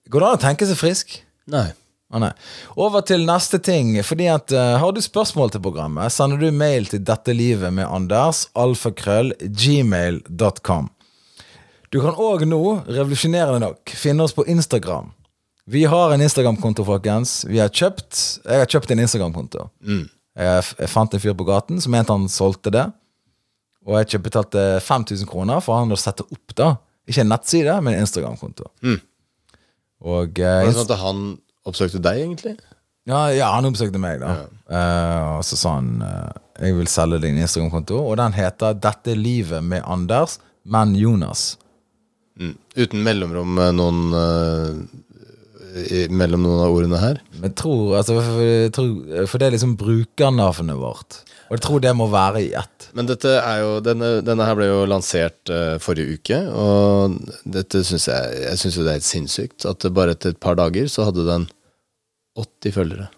B: Går det an å tenke seg frisk?
C: Nei.
B: Å nei. Over til neste ting. Fordi at eh, Har du spørsmål til programmet, sender du mail til dette livet med Anders. Alfakrøll. Gmail.com. Du kan òg nå, revolusjonerende nok, finne oss på Instagram. Vi har en Instagram-konto, folkens. Vi har kjøpt Jeg har kjøpt en Instagram-konto. Jeg, f- jeg fant en fyr på gaten som mente han solgte det. Og jeg kjøpt- betalte 5000 kroner for han å sette opp da Ikke en nettside, men en Instagram-konto. Og eh,
C: Var det sånn at han oppsøkte deg, egentlig?
B: ja, ja han oppsøkte meg, da. Eh, og så sa han eh, jeg vil selge din Instagram-konto, og den heter 'Dette er livet med Anders, men Jonas'.
C: Mm. Uten mellomrom eh, noen eh, i, Mellom noen av ordene her?
B: Men Jeg tror, altså, for, jeg tror, for det er liksom brukernavnet vårt. Og jeg tror det må være i ett.
C: Men dette er jo, denne, denne her ble jo lansert eh, forrige uke, og dette synes jeg, jeg synes jo det er helt sinnssykt. At det bare etter et par dager så hadde den 80 følgere.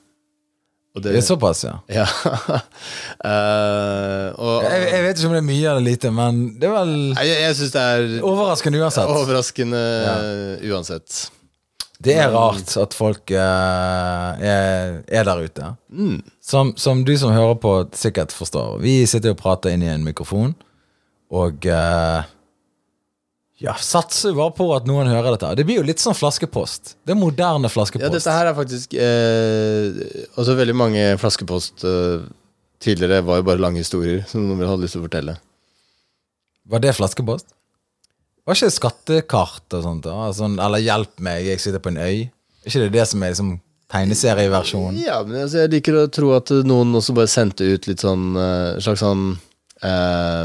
C: Og
B: Det er såpass, ja.
C: Ja. Eh, og
B: Jeg, jeg vet ikke om det er mye eller lite, men det er vel
C: Nei, jeg, jeg syns det er
B: overraskende uansett.
C: overraskende eh, uansett. Mm. Mm.
B: Det er rart at folk eh, er, er der ute. Som, som du som hører på, sikkert forstår. Vi sitter og prater inn i en mikrofon, og eh, ja, satser jo bare på at noen hører dette. Det blir jo litt sånn flaskepost. Det er moderne
C: Ja,
B: flaskepost.
C: dette her er faktisk eh, Også veldig mange flaskepost eh, tidligere var jo bare lange historier som noen hadde lyst til å fortelle.
B: Var det flaskepost? Var ikke det skattekart og sånt? da? Sånn, eller 'hjelp meg, jeg sitter på en øy'? Er ikke det det som er liksom tegneserieversjonen?
C: Ja, men altså, jeg liker å tro at noen også bare sendte ut litt sånn eh, slags sånn eh,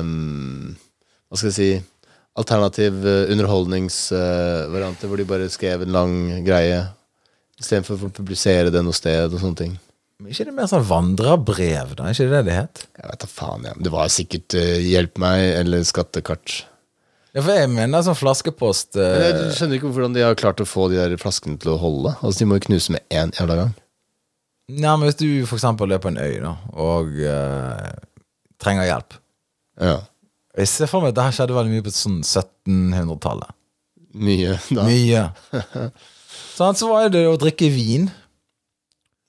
C: Hva skal jeg si Alternativ underholdningsvarianter hvor de bare skrev en lang greie istedenfor å publisere det noe sted og sånne ting.
B: Men Er ikke det mer sånn vandrebrev, da? Er ikke det det det het?
C: Jeg vet da faen, jeg. men Det var sikkert eh, 'Hjelp meg' eller 'Skattekart'.
B: Ja, for jeg mener sånn flaskepost eh,
C: Men jeg skjønner ikke hvordan de har klart å få de der flaskene til å holde. Altså, De må jo knuse med én jævla gang.
B: Nei, men Hvis du for eksempel er på en øy da, og eh, trenger hjelp
C: Ja.
B: Jeg ser for meg at det her skjedde veldig mye på sånn 1700-tallet.
C: Mye da.
B: Mye. Sånn, så var det å drikke vin,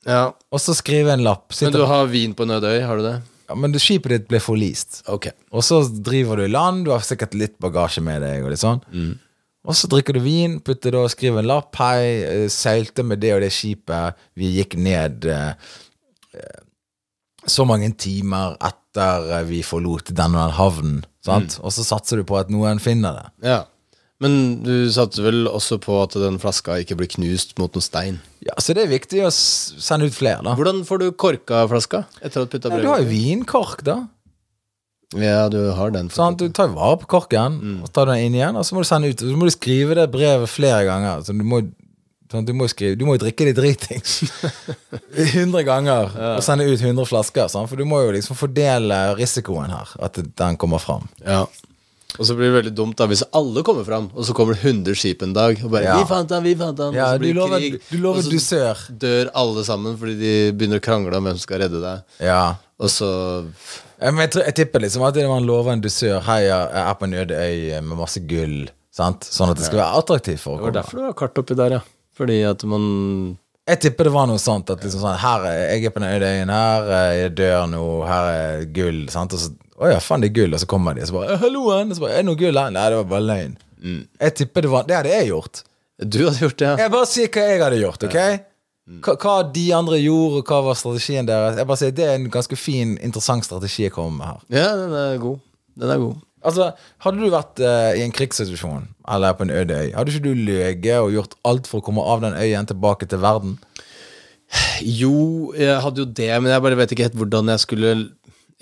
C: Ja.
B: og så skrive en lapp.
C: Men
B: Sitte,
C: du
B: men,
C: har vin på Nødøy, har du det?
B: ja, men skipet ditt ble forlist.
C: Ok.
B: Og så driver du i land, du har sikkert litt bagasje med deg. Og litt sånn Og så drikker du vin, putter da, skriver en lapp. 'Hei, eh, seilte med det og det skipet. Vi gikk ned eh, eh, så mange timer etter eh, vi forlot denne havnen.' Sant? Og så satser du på at noen finner det.
C: Ja. Men du satser vel også på at den flaska ikke blir knust mot noen stein?
B: Ja, Så det er viktig å s- sende ut flere, da.
C: Hvordan får du korka flaska? Etter at putta
B: Nei,
C: brød
B: du har jo vinkork, da.
C: Ja, du har den.
B: Sant? Du tar jo vare på korken,
C: Mm.
B: og så tar du den inn igjen, og så må du sende ut. Så må du skrive det brevet flere ganger. Så du må sånn, du må, skrive, du må jo drikke det dritings 100 ganger og sende ut 100 flasker. Sant? For du må jo liksom fordele risikoen her, at den kommer fram.
C: Ja. Og så blir det veldig dumt da hvis alle kommer fram, og så kommer det 100 skip en dag. Og bare
B: Ja.
C: 'Vi fant han, vi fant han!'
B: Ja,
C: og så blir
B: du
C: det
B: lover-
C: krig.
B: du lover
C: og så
B: dusør.
C: dør alle sammen fordi de begynner å krangle om hvem som skal redde deg.
B: Ja.
C: Og så
B: Ja, Men jeg, tror, jeg tipper liksom at man lover en dusør Hei, jeg er på en øde øy med masse gull. Sant? Sånn at det skal være attraktivt for å
C: Det var
B: komme.
C: derfor du har kart oppi der, ja. Fordi at man
B: Jeg tipper det var noe sånt. At liksom sånn, her, er- Jeg er på den øyen her, eh, jeg dør nå, her er gull. Sant? Og så, å ja, faen, det er gull. Og så kommer de og så bare «Eh, 'Halloen!' Og så bare 'Er det noe gull her?' Nei, det var bare løgn. Jeg tipper det var Det hadde jeg gjort.
C: Du hadde gjort det, ja.
B: Jeg bare sier hva jeg hadde gjort, ok? Hva, hva de andre gjorde, og hva var strategien deres. Jeg bare sier Det er en ganske fin, interessant strategi jeg kommer med her.
C: Ja, den er god. Den er god.
B: Altså, Hadde du vært eh, i en krigssituasjon eller på en øde øy, hadde ikke du løyet og gjort alt for å komme av den øyen tilbake til verden?
C: Jo, jeg hadde jo det, men jeg bare vet ikke helt hvordan jeg skulle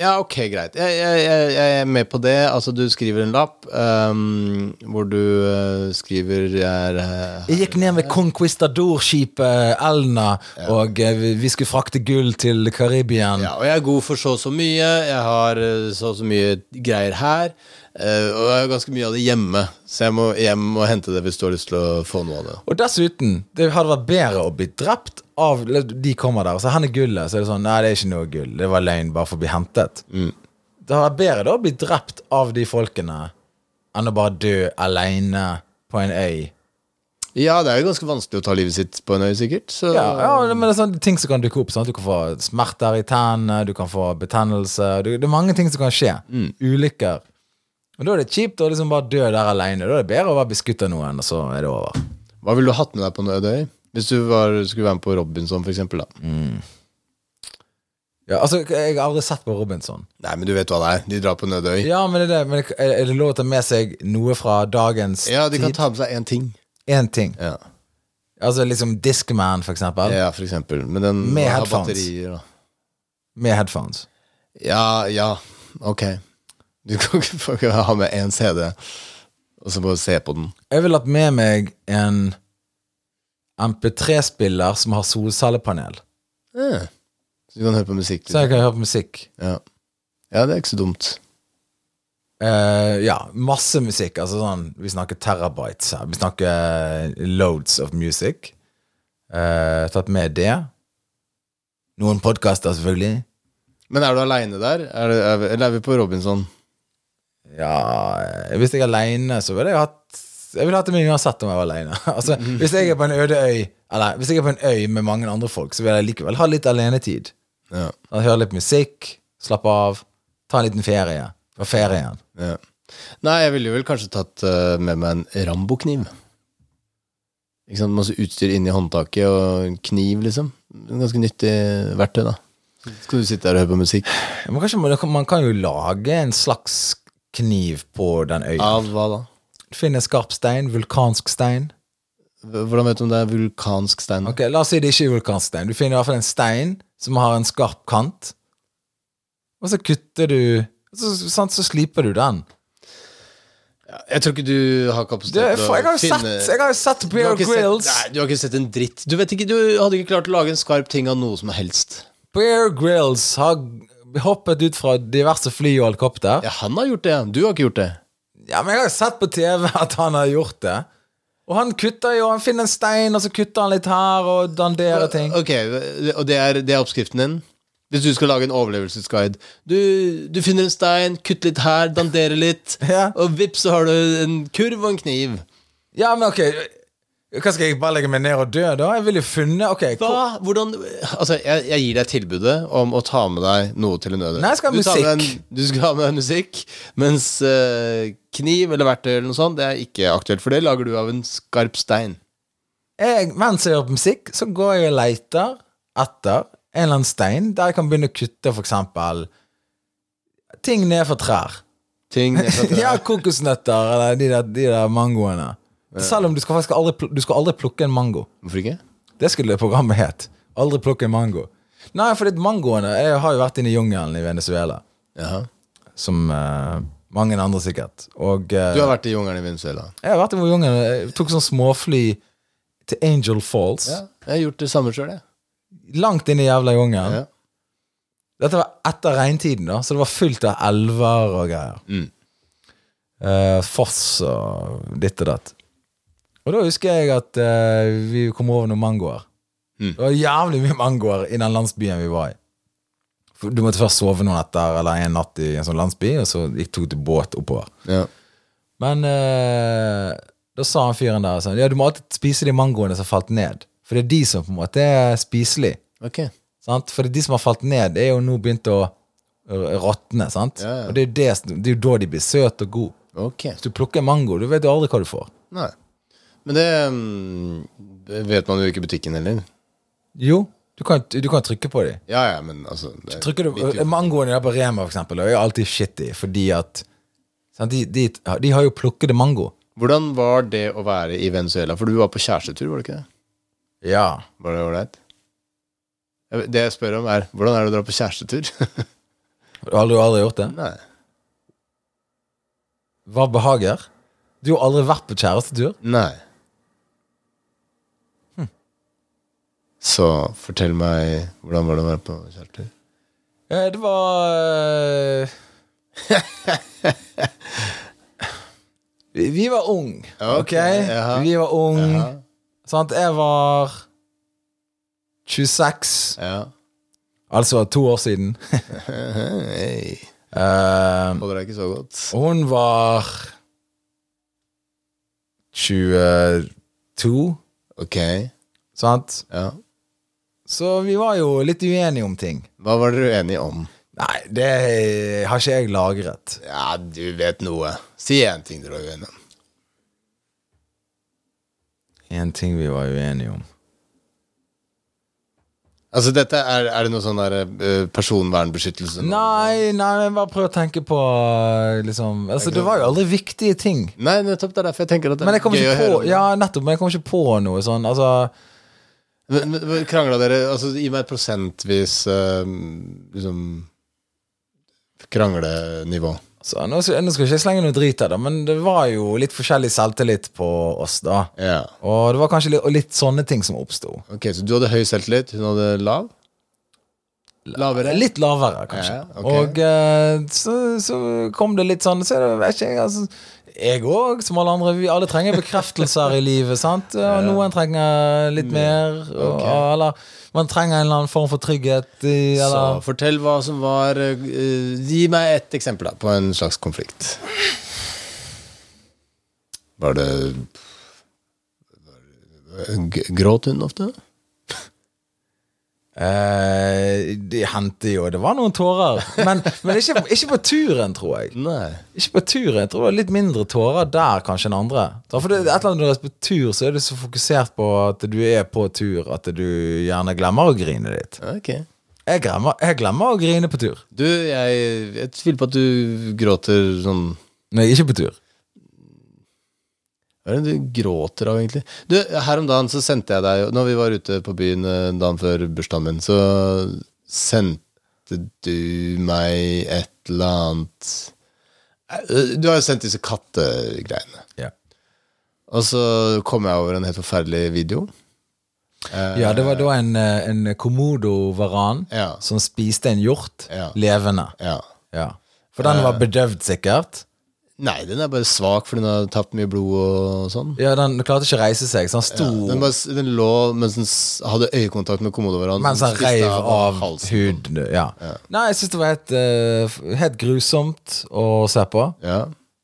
C: Ja, ok, greit. Jeg, jeg, jeg, jeg er med på det. Altså, du skriver en lapp ehm, hvor du eh, skriver jeg er eh,
B: Jeg gikk ned med Conquistador-skipet eh, Elna, og eh, vi- vi skulle frakte gull til Karibien.
C: ja, Og jeg er god for så og så mye. Jeg har eh, så og så mye greier her. eh, og jeg har ganske mye av det hjemme, så jeg må hjem og hente det hvis du har lyst til å få noe av det.
B: Og dessuten, det hadde vært bedre å bli drept av De kommer der, og så her er gullet. Så er det sånn Nei, det er ikke noe gull. Det var løgn, bare for å bli hentet. Det hadde vært bedre da å bli drept av de folkene enn å bare dø aleine på en øy.
C: Ja, det er jo ganske vanskelig å ta livet sitt på en øy, sikkert. Så
B: Ja, ja, men det er sånne ting som kan dukke opp. Sant? Du kan få smerter i tennene, du kan få betennelse. Du, det er mange ting som kan skje.
C: Mm.
B: Ulykker. Og Da er det kjipt å liksom bare dø der alene. Da er det bedre å være beskutt av noen, og så er det over.
C: Hva ville du hatt med deg på en øde øy? Hvis du var, skulle være med på Robinson, for eksempel, da.
B: Mm. Ja, altså, Jeg har aldri sett på Robinson.
C: Nei, men du vet hva det er. De drar på en øde øy. Ja,
B: Ja, men, det er, det, men er er det lov å ta med seg noe fra dagens
C: de kan ta med seg én ting.
B: Én ting.
C: Ja.
B: Altså liksom Discman, for eksempel.
C: ja, for eksempel. Men den
B: Med
C: har
B: headphones.
C: batterier og
B: Med headphones.
C: Ja, ja, ok. Du kan ikke få- kan ha med én CD, og så bare se på den.
B: Jeg ville hatt med meg en MP3-spiller som har solcellepanel.
C: Ja. Eh. Så du kan høre på musikk.
B: Så jeg kan høre på musikk.
C: Ja. ja, det er ikke så dumt.
B: Eh, ja, masse musikk. Altså sånn, vi snakker terabytes her. Vi snakker eh, loads of music. Eh, tatt med det. Noen podkaster, selvfølgelig.
C: Men er du aleine der, er det, er, vi- eller er vi på Robinson?
B: Ja, eh, Hvis jeg er aleine, så ville jeg hatt Jeg ville hatt det med uansett om jeg var aleine. altså, hvis jeg er på en øde øy Eller hvis jeg er på en øy med mange andre folk, så vil jeg likevel ha litt alenetid.
C: Ja.
B: Han hører litt musikk, slapper av, tar en liten ferie. Fra ferien.
C: Ja. Nei, jeg ville vel kanskje tatt eh, med meg en Rambo-kniv. Ikke sant, Masse utstyr inni håndtaket og en kniv, liksom. En ganske nyttig verktøy, da. Så Skal du sitte der og høre på musikk?
B: Men kanskje man, man kan jo lage en slags kniv på den øya.
C: Av hva da?
B: Finne skarp stein, vulkansk stein.
C: H- Hvordan vet du om det er vulkansk stein?
B: Ok, La oss si det ikke er vulkansk stein. Du finner i hvert fall en stein som har en skarp kant. Og så kutter du Så, sant, så sliper du den.
C: Jeg tror ikke du har kapasitet
B: Det, for jeg har jo sett, jeg har jo sett
C: Du har
B: Bear
C: ikke sett-
B: Grills.
C: Nei, du har ikke sett en dritt. Du, vet ikke, du hadde ikke klart å lage en skarp ting av noe som helst.
B: Bear Grills har hoppet ut fra diverse fly og helikopter.
C: Ja, han har gjort det, ja. Du har ikke gjort det.
B: Ja, men jeg har jo sett på TV at han har gjort det. Og han kutter jo, han finner en stein, og så kutter han litt her og danderer ting.
C: Ok, og det er, det er oppskriften din? Hvis du skal lage en overlevelsesguide. Du, du finner en stein, kutt litt her, dandere litt,
B: Ja.
C: og vips, så har du en kurv og en kniv.
B: Ja, men ok, hva skal jeg bare legge meg ned og dø da? Jeg vil jo funne, ok, hvor-
C: Hva? Hvordan Altså, jeg, jeg gir deg tilbudet om å ta med deg noe til en nødvendig.
B: Nei, jeg skal ha
C: du, tar med
B: musikk.
C: en- du skal ha med deg musikk, mens eh, kniv eller verktøy eller noe sånt, det er ikke aktuelt, for det lager du av en skarp stein.
B: jeg, mens jeg hører på musikk, så går jeg og leter etter en eller annen stein der jeg kan begynne å kutte, for eksempel, ting ned fra trær.
C: Ting
B: Ja, kokosnøtter, eller de der, de der mangoene. Selv om du skal faktisk aldri, pl- du skal aldri plukke en mango.
C: Hvorfor ikke?
B: Det skulle programmet het. Aldri plukke en mango. Nei, fordi at mangoene Jeg har jo vært inne i jungelen i Venezuela,
C: Jaha.
B: som eh, mange andre sikkert. Og eh,
C: Du har vært i jungelen i Venezuela.
B: jeg har vært i jungelen. Jeg tok sånn småfly til Angel Falls.
C: Ja, jeg har gjort det samme sjøl, jeg.
B: Langt inn i jævla jungelen.
C: Ja.
B: Dette var etter regntiden, da, så det var fullt av elver og greier.
C: Mm.
B: Eh, foss og ditt og datt. Og da husker jeg at eh, vi kom over noen mangoer.
C: Mm.
B: Det var jævlig mye mangoer i den landsbyen vi var i. For Du måtte først sove noen etter eller en natt i en sånn landsby, og så gikk tok du båt oppover.
C: Ja.
B: Men eh, da sa han fyren der sånn Ja, du må alltid spise de mangoene som falt ned. For det er de som på en måte er spiselige.
C: Ok.
B: Sant? For de som har falt ned, er jo nå begynt å r- råtne. sant?
C: Ja, ja.
B: Og det er, jo det, som- det er jo da de blir søte og gode.
C: Ok.
B: Hvis du plukker en mango, du vet jo aldri hva du får.
C: Nei. Men det, mm, det vet man jo ikke i butikken heller.
B: Jo, du kan, du kan trykke på dem.
C: Ja, ja, men altså det,
B: Trykker
C: vet
B: du, eh,
C: jo-
B: mangoen der på Rema for eksempel, er jo alltid shitty, fordi at sant? De, de, de har jo plukkede mango.
C: Hvordan var det å være i Venezuela? For du var på kjærestetur, var det ikke det?
B: Ja.
C: Var det ålreit? Jeg vet- Det jeg spør om, er hvordan er det å dra på kjærestetur?
B: Du har aldri, aldri gjort det?
C: Nei.
B: Hva behager? Du har aldri vært på kjærestetur?
C: Nei.
B: Hm.
C: Så fortell meg, hvordan var det å være på kjærestetur?
B: Eh, Det var eh, Vi vi var ung, ok?
C: Ja, ok, jaha.
B: Vi var ung.
C: Ja,
B: Sant? Jeg var 26,
C: ja.
B: altså to år siden.
C: Hei.
B: Eh,
C: Holder deg ikke så godt.
B: og hun var 22,
C: Ok,
B: sant?
C: ja.
B: Så vi var jo litt uenige om ting.
C: Hva var dere uenige om?
B: Nei, det har ikke jeg lagret.
C: Ja, du vet noe. Si én ting dere var uenige om.
B: En ting vi var uenige om.
C: Altså, dette er, er det noe sånn der eh, personvernbeskyttelse? nå?
B: Nei, nei, men bare prøv å tenke på liksom. altså, Det var jo aldri viktige ting.
C: Nei, nettopp. Det er derfor jeg tenker at det
B: Men jeg
C: er
B: kom
C: gøy å
B: ikke
C: høre.
B: på
C: om.
B: Ja, nettopp, men jeg kom ikke på noe sånn. Altså,
C: Men, men, men krangla dere Altså, gi meg prosentvis eh, liksom Kranglenivå.
B: så nå, skal, nå skal jeg ikke slenge noe drit her, da, men det var jo litt forskjellig selvtillit på oss da.
C: Ja.
B: Og det var kanskje litt, og litt sånne ting som oppsto.
C: Ok, så du hadde høy selvtillit, hun hadde lav? Lavere?
B: Litt lavere, kanskje.
C: Ja, ok.
B: Og eh, så, så kom det litt sånn Så er det vet ikke, jeg, altså, jeg òg, som alle andre. Vi alle trenger bekreftelser i livet. sant? Og noen trenger litt mer. Og,
C: ok.
B: eller man trenger en eller annen form for trygghet. I,
C: Så
B: eller,
C: fortell hva som var eh, Gi meg et eksempel da, på en slags konflikt. Var det, var det Gråt hun ofte?
B: Eh, de hendte jo Det var noen tårer. Men, men ikke, ikke på turen, tror jeg.
C: Nei.
B: Ikke på turen. Jeg tror det var litt mindre tårer der kanskje enn andre. Da, For det, et eller annet når du er på tur, så er du så fokusert på at du er på tur at du gjerne glemmer å grine litt.
C: Ok.
B: Jeg glemmer, jeg glemmer å grine på tur.
C: Du, jeg, jeg tviler på at du gråter sånn
B: Når jeg ikke er på tur.
C: Hva er det du gråter av, egentlig? Du, Her om dagen så sendte jeg deg Når vi var ute på byen eh, dagen før bursdagen min, så sendte du meg et eller annet Eh, Du har jo sendt disse kattegreiene.
B: Ja.
C: Og så kom jeg over en helt forferdelig video. Eh,
B: ja, det var da en, eh, en komodovaran
C: Ja.
B: som spiste en hjort
C: Ja. Eh.
B: levende.
C: ja.
B: Ja. For den var bedøvd, sikkert.
C: Nei, den er bare svak fordi den har tapt mye blod og sånn.
B: Ja, Den klarte ikke å reise seg, så han sto
C: Den, bare, s- den lå mens den s- hadde øyekontakt med komodoveranen.
B: mens han reiv av
C: halsen.
B: hud. Ja. Nei, jeg syns det var helt, eh, f- helt grusomt å se på.
C: Ja.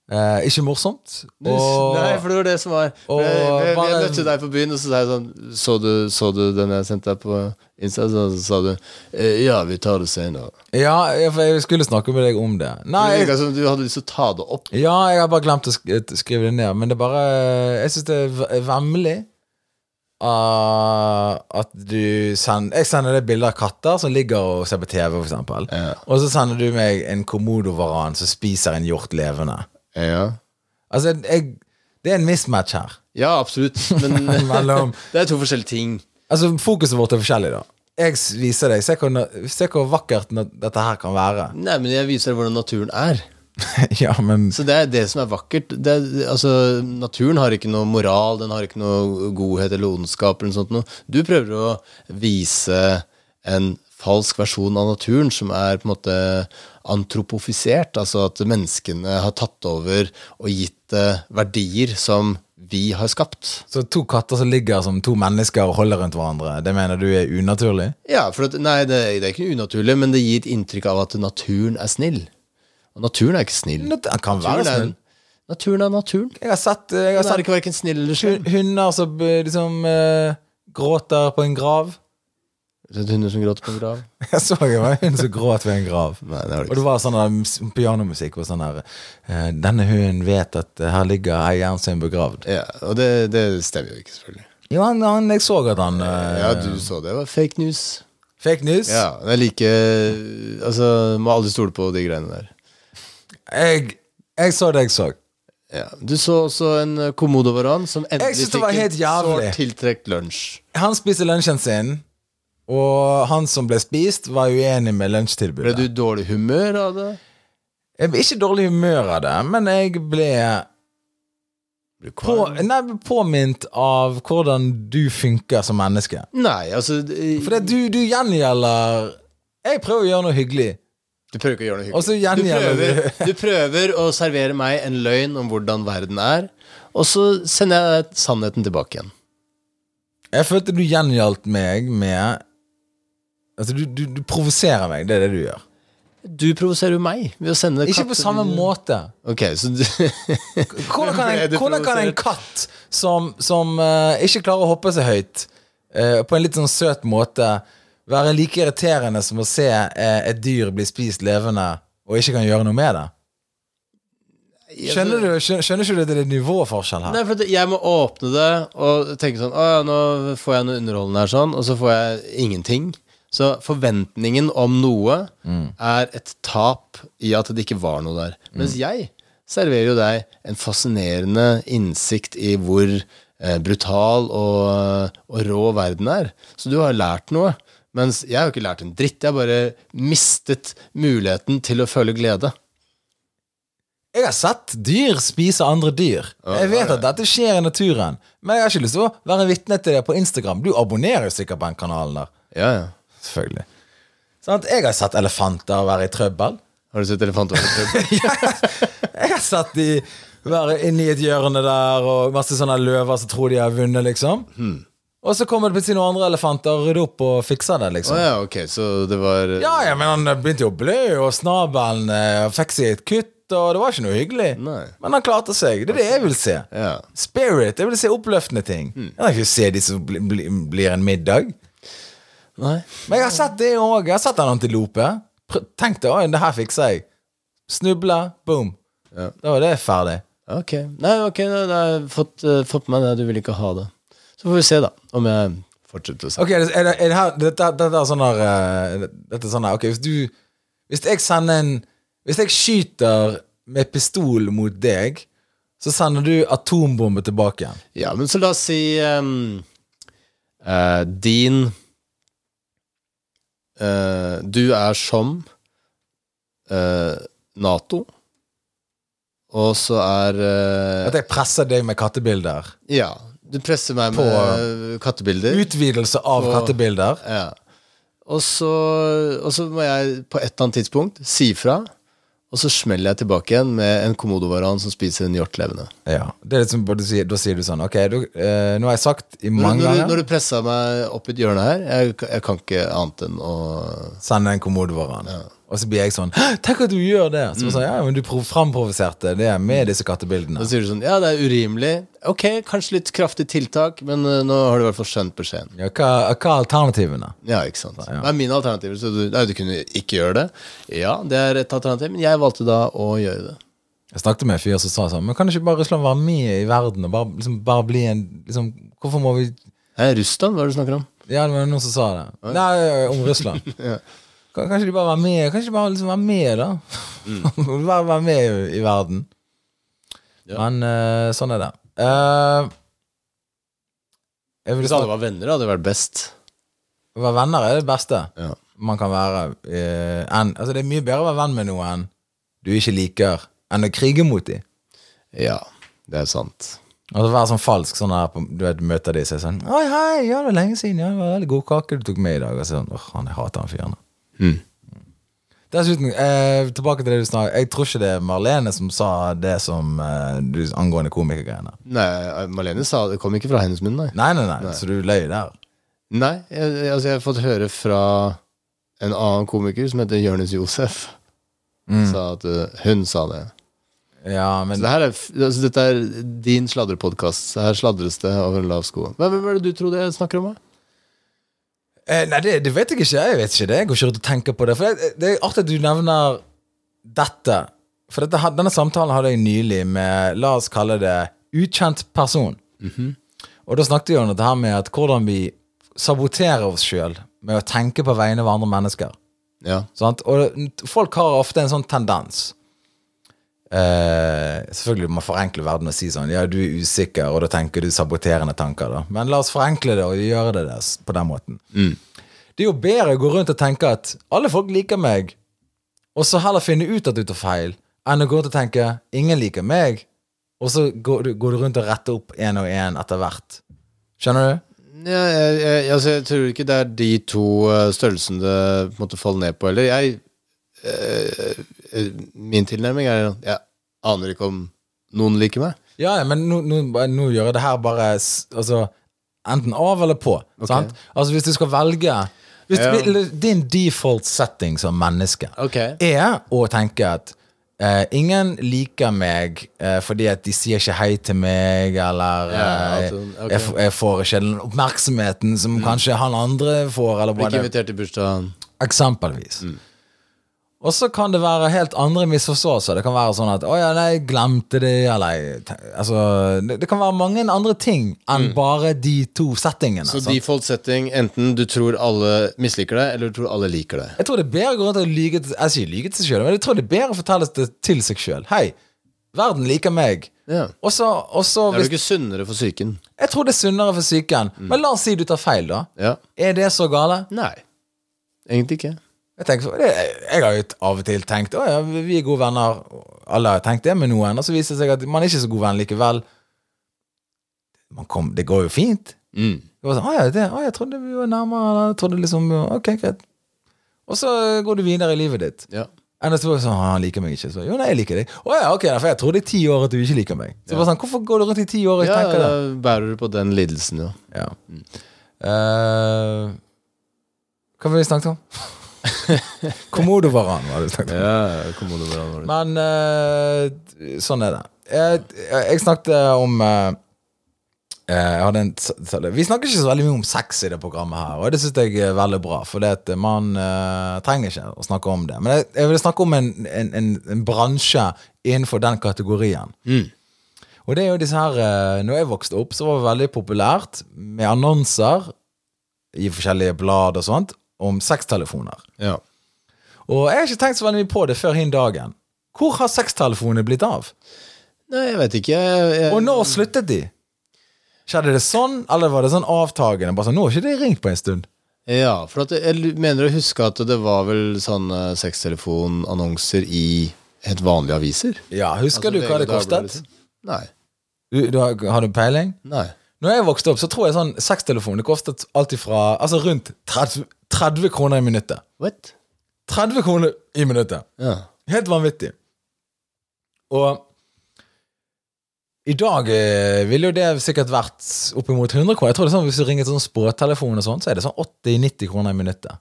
B: Eh, ikke morsomt.
C: Du-
B: Og
C: Nei, for det var det som var For
B: og
C: jeg, jeg, jeg,
B: bare-
C: møtte deg på byen, og så sa jeg sånn Så du, så du den jeg sendte deg på Insta? Så sa du «Eh, Ja, vi tar det senere.
B: ja, jeg- for jeg skulle snakke med deg om det. Nei,
C: Det
B: jeg,
C: virka som du hadde lyst til å ta det opp.
B: ja, jeg har bare glemt å sk eh, skrive det ned, men det er bare eh, Jeg syns det er v- vemmelig. ah, at du send, Jeg sender deg bilder av katter som ligger og ser på TV, for eksempel.
C: Ja.
B: Og så sender du meg en komodovaran som spiser en hjort levende.
C: Ja,
B: Altså, jeg, det er en mismatch her.
C: ja absolutt. Men
B: Mellom-
C: det er to forskjellige ting.
B: Altså, Fokuset vårt er forskjellig, da. Jeg s- viser deg. Se hvor, na- se hvor vakkert na- dette her kan være.
C: Nei, men jeg viser deg hvordan naturen er.
B: ja, men
C: Så det er det som er vakkert. Det er, altså, naturen har ikke noe moral, den har ikke noe godhet eller ondskap eller noe sånt. Noe. Du prøver å vise en falsk versjon av naturen som er på en måte antropofisert, altså at menneskene har tatt over og gitt det verdier som vi har skapt.
B: Så to katter som ligger som to mennesker og holder rundt hverandre, det mener du er unaturlig?
C: Ja, for at, nei, det, det er ikke unaturlig, men det gir et inntrykk av at naturen er snill. Og naturen er ikke snill.
B: Nat- Den kan være
C: Naturen er-
B: snill.
C: Naturen er naturen.
B: Jeg har sett, eh, jeg har
C: Den er
B: sett
C: ikke hverken snill eller slem.
B: hu- hunder som eh, liksom eh, gråter på en grav.
C: Sett hunder som gråter på en grav.
B: Jeg så det var en som gråt ved en grav.
C: Nei, det var
B: Og det var sånn der mus- pianomusikk og sånn der eh, Denne hunden vet at eh, her ligger eieren sin begravd.
C: Ja, og det, det stemmer jo ikke, selvfølgelig.
B: Jo, han, han, jeg så at han eh,
C: Ja, du så det. det var fake news.
B: Fake news.
C: Ja, det er like Altså, må aldri stole på de greiene der.
B: Jeg, jeg så det jeg så.
C: Ja. Du så også en eh, komodovaran som
B: Jeg
C: endelig
B: synes det
C: fikk
B: var
C: en
B: helt jævlig.
C: sårt tiltrekt lunsj.
B: Han spiste lunsjen sin, og han som ble spist, var uenig med
C: Ble
B: lunsjtilbudet.
C: du i dårlig humør av det?
B: Jeg ble ikke i dårlig humør av det, men jeg ble
C: Ble du
B: på,
C: kvalm?
B: nei, påminnet av hvordan du funker som menneske.
C: Nei, altså det-
B: For det du, du gjengjelder Jeg prøver å gjøre noe hyggelig.
C: Du prøver ikke å gjøre noe
B: Og så
C: hyggelig. Du
B: gjengjelder
C: prøver, du prøver å servere meg en løgn om hvordan verden er, og så sender jeg deg sannheten tilbake igjen.
B: Jeg følte du gjengjaldt meg med Altså, du, du, du provoserer meg. Det er det du gjør.
C: Du provoserer jo meg ved å sende
B: Ikke på
C: katter-
B: samme måte.
C: Ok, så du
B: Hvordan kan
C: Ble
B: en,
C: du
B: hvordan kan en
C: provosert?
B: katt som, som eh, ikke klarer å hoppe så høyt, eh, på en litt sånn søt måte, være like irriterende som å se eh, et dyr bli spist levende og ikke kan gjøre noe med det? Skjønner du skjø- skjønner ikke du at det er nivåforskjell her?
C: Altså- Nei, for at jeg må åpne det og tenke sånn Å ja, nå får jeg noe underholdende her, sånn, og så får jeg ingenting. Så forventningen om noe er et tap i at det ikke var noe der. Mens jeg serverer jo deg en fascinerende innsikt i hvor eh, brutal og, og rå verden er. Så du har lært noe. Mens jeg har jo ikke lært en dritt. Jeg har bare mistet muligheten til å føle glede.
B: Jeg har sett dyr spise andre dyr. Jeg vet at dette skjer i naturen, men jeg har ikke lyst til å være vitne til det på Instagram. Du abonnerer jo sikkert på den kanalen der.
C: Ja, ja.
B: Selvfølgelig. Sånn at jeg har sett elefanter være i trøbbel.
C: Har du sett elefanter?
B: Jeg har sett de være inni et hjørne der, og masse sånne løver som tror de har vunnet, liksom.
C: Hmm.
B: Og så kommer det plutselig noen andre elefanter og rydder opp og fikser det,
C: Å
B: liksom.
C: ja, ok, så det var
B: Ja, ja, men han begynte jo å blø, og snabelen eh, fikk seg et kutt, og det var ikke noe hyggelig.
C: Nei.
B: Men han klarte seg. Det er det jeg vil se.
C: Ja. Mm.
B: Spirit. Jeg vil se oppløftende ting. Jeg vil ikke se de som bli, bli, blir en middag.
C: Nei.
B: Men jeg har sett det òg. Jeg har sett en antilope. Pr- Tenk deg, oi, det her fikser jeg. Snubla, boom.
C: Ja.
B: Da var det ferdig.
C: Ok. Nei, ok, da da har jeg fått, eh, fått med meg det. Du vil ikke ha det. Så får vi se, da, om jeg fortsetter å se.
B: Ok, er det, er det, er det her, dette, dette er sånn her eh, Dette er sånn her, ok, hvis du Hvis jeg sender en Hvis jeg skyter med pistol mot deg Så sender du atombombe tilbake igjen
C: Ja, men så la oss si ehm, eh, Din eh, Du er som eh, Nato. Og så er eh,
B: At jeg presser deg med kattebilder
C: Ja. Du presser meg
B: På-
C: med eh, kattebilder.
B: Utvidelse av
C: Og-
B: kattebilder
C: Ja. Og så, og så må jeg på et eller annet tidspunkt si fra, og så smeller jeg tilbake igjen med en komodovaran som spiser en hjort levende.
B: Ja, det er litt som bare du sier, da sier du sånn Ok, du, eh, nå har jeg sagt i
C: Når,
B: mange
C: når, du-
B: ganger
C: når du pressa meg opp i et hjørne her, jeg, jeg kan ikke annet enn å
B: Sender en kommode varan Og så blir jeg sånn, «Hæ, tenk at du gjør det
C: Mm.
B: Så sånn, ja, men du prov- framprovoserte det med disse kattebildene
C: Da sier du sånn Ja, det er urimelig. Ok, kanskje litt kraftig tiltak, men eh, nå har du i hvert fall skjønt beskjeden.
B: ja, hva, hva er alternativene?
C: Ja, ikke sant. Hva er mine alternativer? Så du, nei, du kunne ikke gjøre det. Ja, det er et alternativ, men jeg valgte da å gjøre det.
B: Jeg snakket med en fyr som sa sånn Men kan ikke bare Russland være med i verden og bare, liksom, bare bli en liksom, Hvorfor må vi
C: Nei, Russland, hva er det du snakker om?
B: Ja, det var noen som sa det. Nei, om Russland.
C: Ja.
B: Kan, kanskje de bare være med Kanskje de bare liksom være med, da?
C: Mm.
B: bare være med i, i verden. Men eh, sånn er det. Eh, jeg vil
C: Hvis alle
B: snakke
C: var venner, hadde det vært best.
B: Å være venner er det beste
C: Ja.
B: man kan være. eh, enn, altså, det er mye bedre å være venn med noen du ikke liker, enn å krige mot dem.
C: Ja, det er sant.
B: Altså Være sånn falsk sånn her på, Du vet, møter de seg sånn Oi, hei, ja, det er lenge siden. Ja, det var veldig god kake du tok med i dag. Og så sånn, åh, han, jeg hater han fyren.
C: Mm.
B: Dessuten, eh, tilbake til det du snakket Jeg tror ikke det er Marlene som sa det som eh, du, angående komikergreiene.
C: Nei, Malene sa det kom ikke fra hennes munn, nei.
B: Nei, nei, nei, så du løy der.
C: Nei, jeg, jeg- altså jeg har fått høre fra en annen komiker som heter Jonis Josef. Sa at uh, hun sa det.
B: Ja,
C: Så
B: men
C: det her er, f- altså dette er din sladrepodkast. Her sladres det over en lav sko. Hva, hvem er det du tror det snakker om? da?
B: eh, Nei, det, det vet jeg ikke. Jeg vet ikke det. Jeg går ikke rundt og tenker på det. For det, det er artig at du nevner dette. For dette, had- denne samtalen hadde jeg nylig med, la oss kalle det, ukjent person. Og da snakket vi om dette her med at hvordan vi saboterer oss sjøl med å tenke på vegne av andre mennesker.
C: Ja.
B: Sant? Og folk har ofte en sånn tendens. Eh, selvfølgelig må man forenkle verden og si sånn Ja, du er usikker, og da tenker du saboterende tanker. da Men la oss forenkle det og gjøre det der, s- på den måten. Det er jo bedre å gå rundt og tenke at alle folk liker meg, og så heller finne ut at du tar feil, enn å gå rundt og tenke ingen liker meg, og så går du, går du rundt og retter opp én og én etter hvert. Skjønner du?
C: Ja, jeg, jeg, altså jeg tror ikke det er de to eh, størrelsene det på en måte faller ned på heller. Jeg, eh, eh, min tilnærming er at jeg aner ikke om noen liker meg.
B: Ja, ja, men nå, nå, nå gjør jeg det her bare s- altså, enten av eller på. Sant? Altså Hvis du skal velge hvis,
C: Ja.
B: vil- Din default setting som menneske
C: Ok.
B: er å tenke at eh, ingen liker meg eh, fordi at de sier ikke hei til meg, eller
C: Ja,
B: eh,
C: altså, ok.
B: jeg, f- jeg får ikke den oppmerksomheten som kanskje han andre får. Eller
C: Blir
B: hva
C: ikke
B: det
C: invitert til bursdagen.
B: Eksempelvis. Og så kan det være helt andre misforståelser. Det kan være sånn at 'Å ja, nei, jeg glemte det', eller jeg te- altså, det, det kan være mange andre ting enn bare de to settingene.
C: Mm.
B: altså.
C: Så
B: sant?
C: default setting, enten du tror alle misliker deg, eller du tror alle liker deg.
B: Jeg tror det er bedre å gå rundt og lyge til, jeg sier lyge til seg sjøl, men jeg tror det er bedre å fortelle det til seg sjøl. 'Hei, verden liker meg'.
C: Ja.
B: Og så, og så
C: Er du Mm.
B: hvis,
C: ikke sunnere for psyken?
B: Jeg tror det er sunnere for psyken, men la oss si du tar feil, da.
C: Ja.
B: Er det så gale?
C: Nei. Egentlig ikke.
B: Jeg, tenker, så- det, jeg har jo av og til tenkt at ja, vi vi er gode venner. Alle har tenkt det med noen, og så viser det seg at man er ikke så god venn likevel. Man kom, det går jo fint.
C: Mm.
B: Det var sånn, å, ja, det, å, jeg trodde vi var nærmere. Eller, jeg trodde liksom, ok, greit. Og så går du videre i livet ditt.
C: Ja.
B: Enn at du bare sånn, «Å, han liker meg ikke. Så, jo, nei, jeg liker deg. Å ja, ok, nei, for jeg trodde i ti år at du ikke liker meg. Så bare sånn, Hvorfor går du rundt i ti år og
C: ja,
B: tenker
C: da
B: det?
C: bærer du på den lidelsen, jo.
B: Ja. Eh, hva var det vi snakket om? Komodovaran var det vi snakket om.
C: Ja, komodovaran var det.
B: Men eh, sånn er det. Jeg, jeg snakket om eh, Eh, jeg hadde en, s- s- vi snakker ikke så veldig mye om sex i det programmet her, og det syns jeg er veldig bra. For det at man eh, trenger ikke å snakke om det. Men jeg, jeg vil snakke om en, en, en, en bransje innenfor den kategorien.
C: Mm.
B: Og det er jo disse her eh, Når jeg vokste opp, så var det veldig populært med annonser i forskjellige blad og sånt om sextelefoner.
C: Ja.
B: Og jeg har ikke tenkt så veldig mye på det før hin dagen. Hvor har sextelefonene blitt av?
C: Nei, jeg vet ikke. Jeg, jeg,
B: Og når sluttet de? Skjedde det sånn, eller var det sånn avtagende? Bare sånn, nå har ikke de ringt på en stund.
C: Ja, for at jeg l- mener å huske at det var vel sånne sextelefonannonser i helt vanlige aviser. Altså,
B: Ja, Husker du hva Altså, det kostet?
C: liksom. Nei.
B: Du, du har, har du peiling?
C: Nei.
B: Når jeg vokste opp, så tror jeg sånn sextelefon det kostet alltid fra altså rundt 30, 30 kroner i minuttet.
C: What?
B: 30 kroner i minuttet.
C: Ja.
B: Helt vanvittig. Og i dag eh, ville jo det sikkert vært oppimot 100 kroner. Jeg tror det er sånn Hvis du ringer til sånn språktelefon, og sånn, så er det sånn 80-90 kroner i minuttet.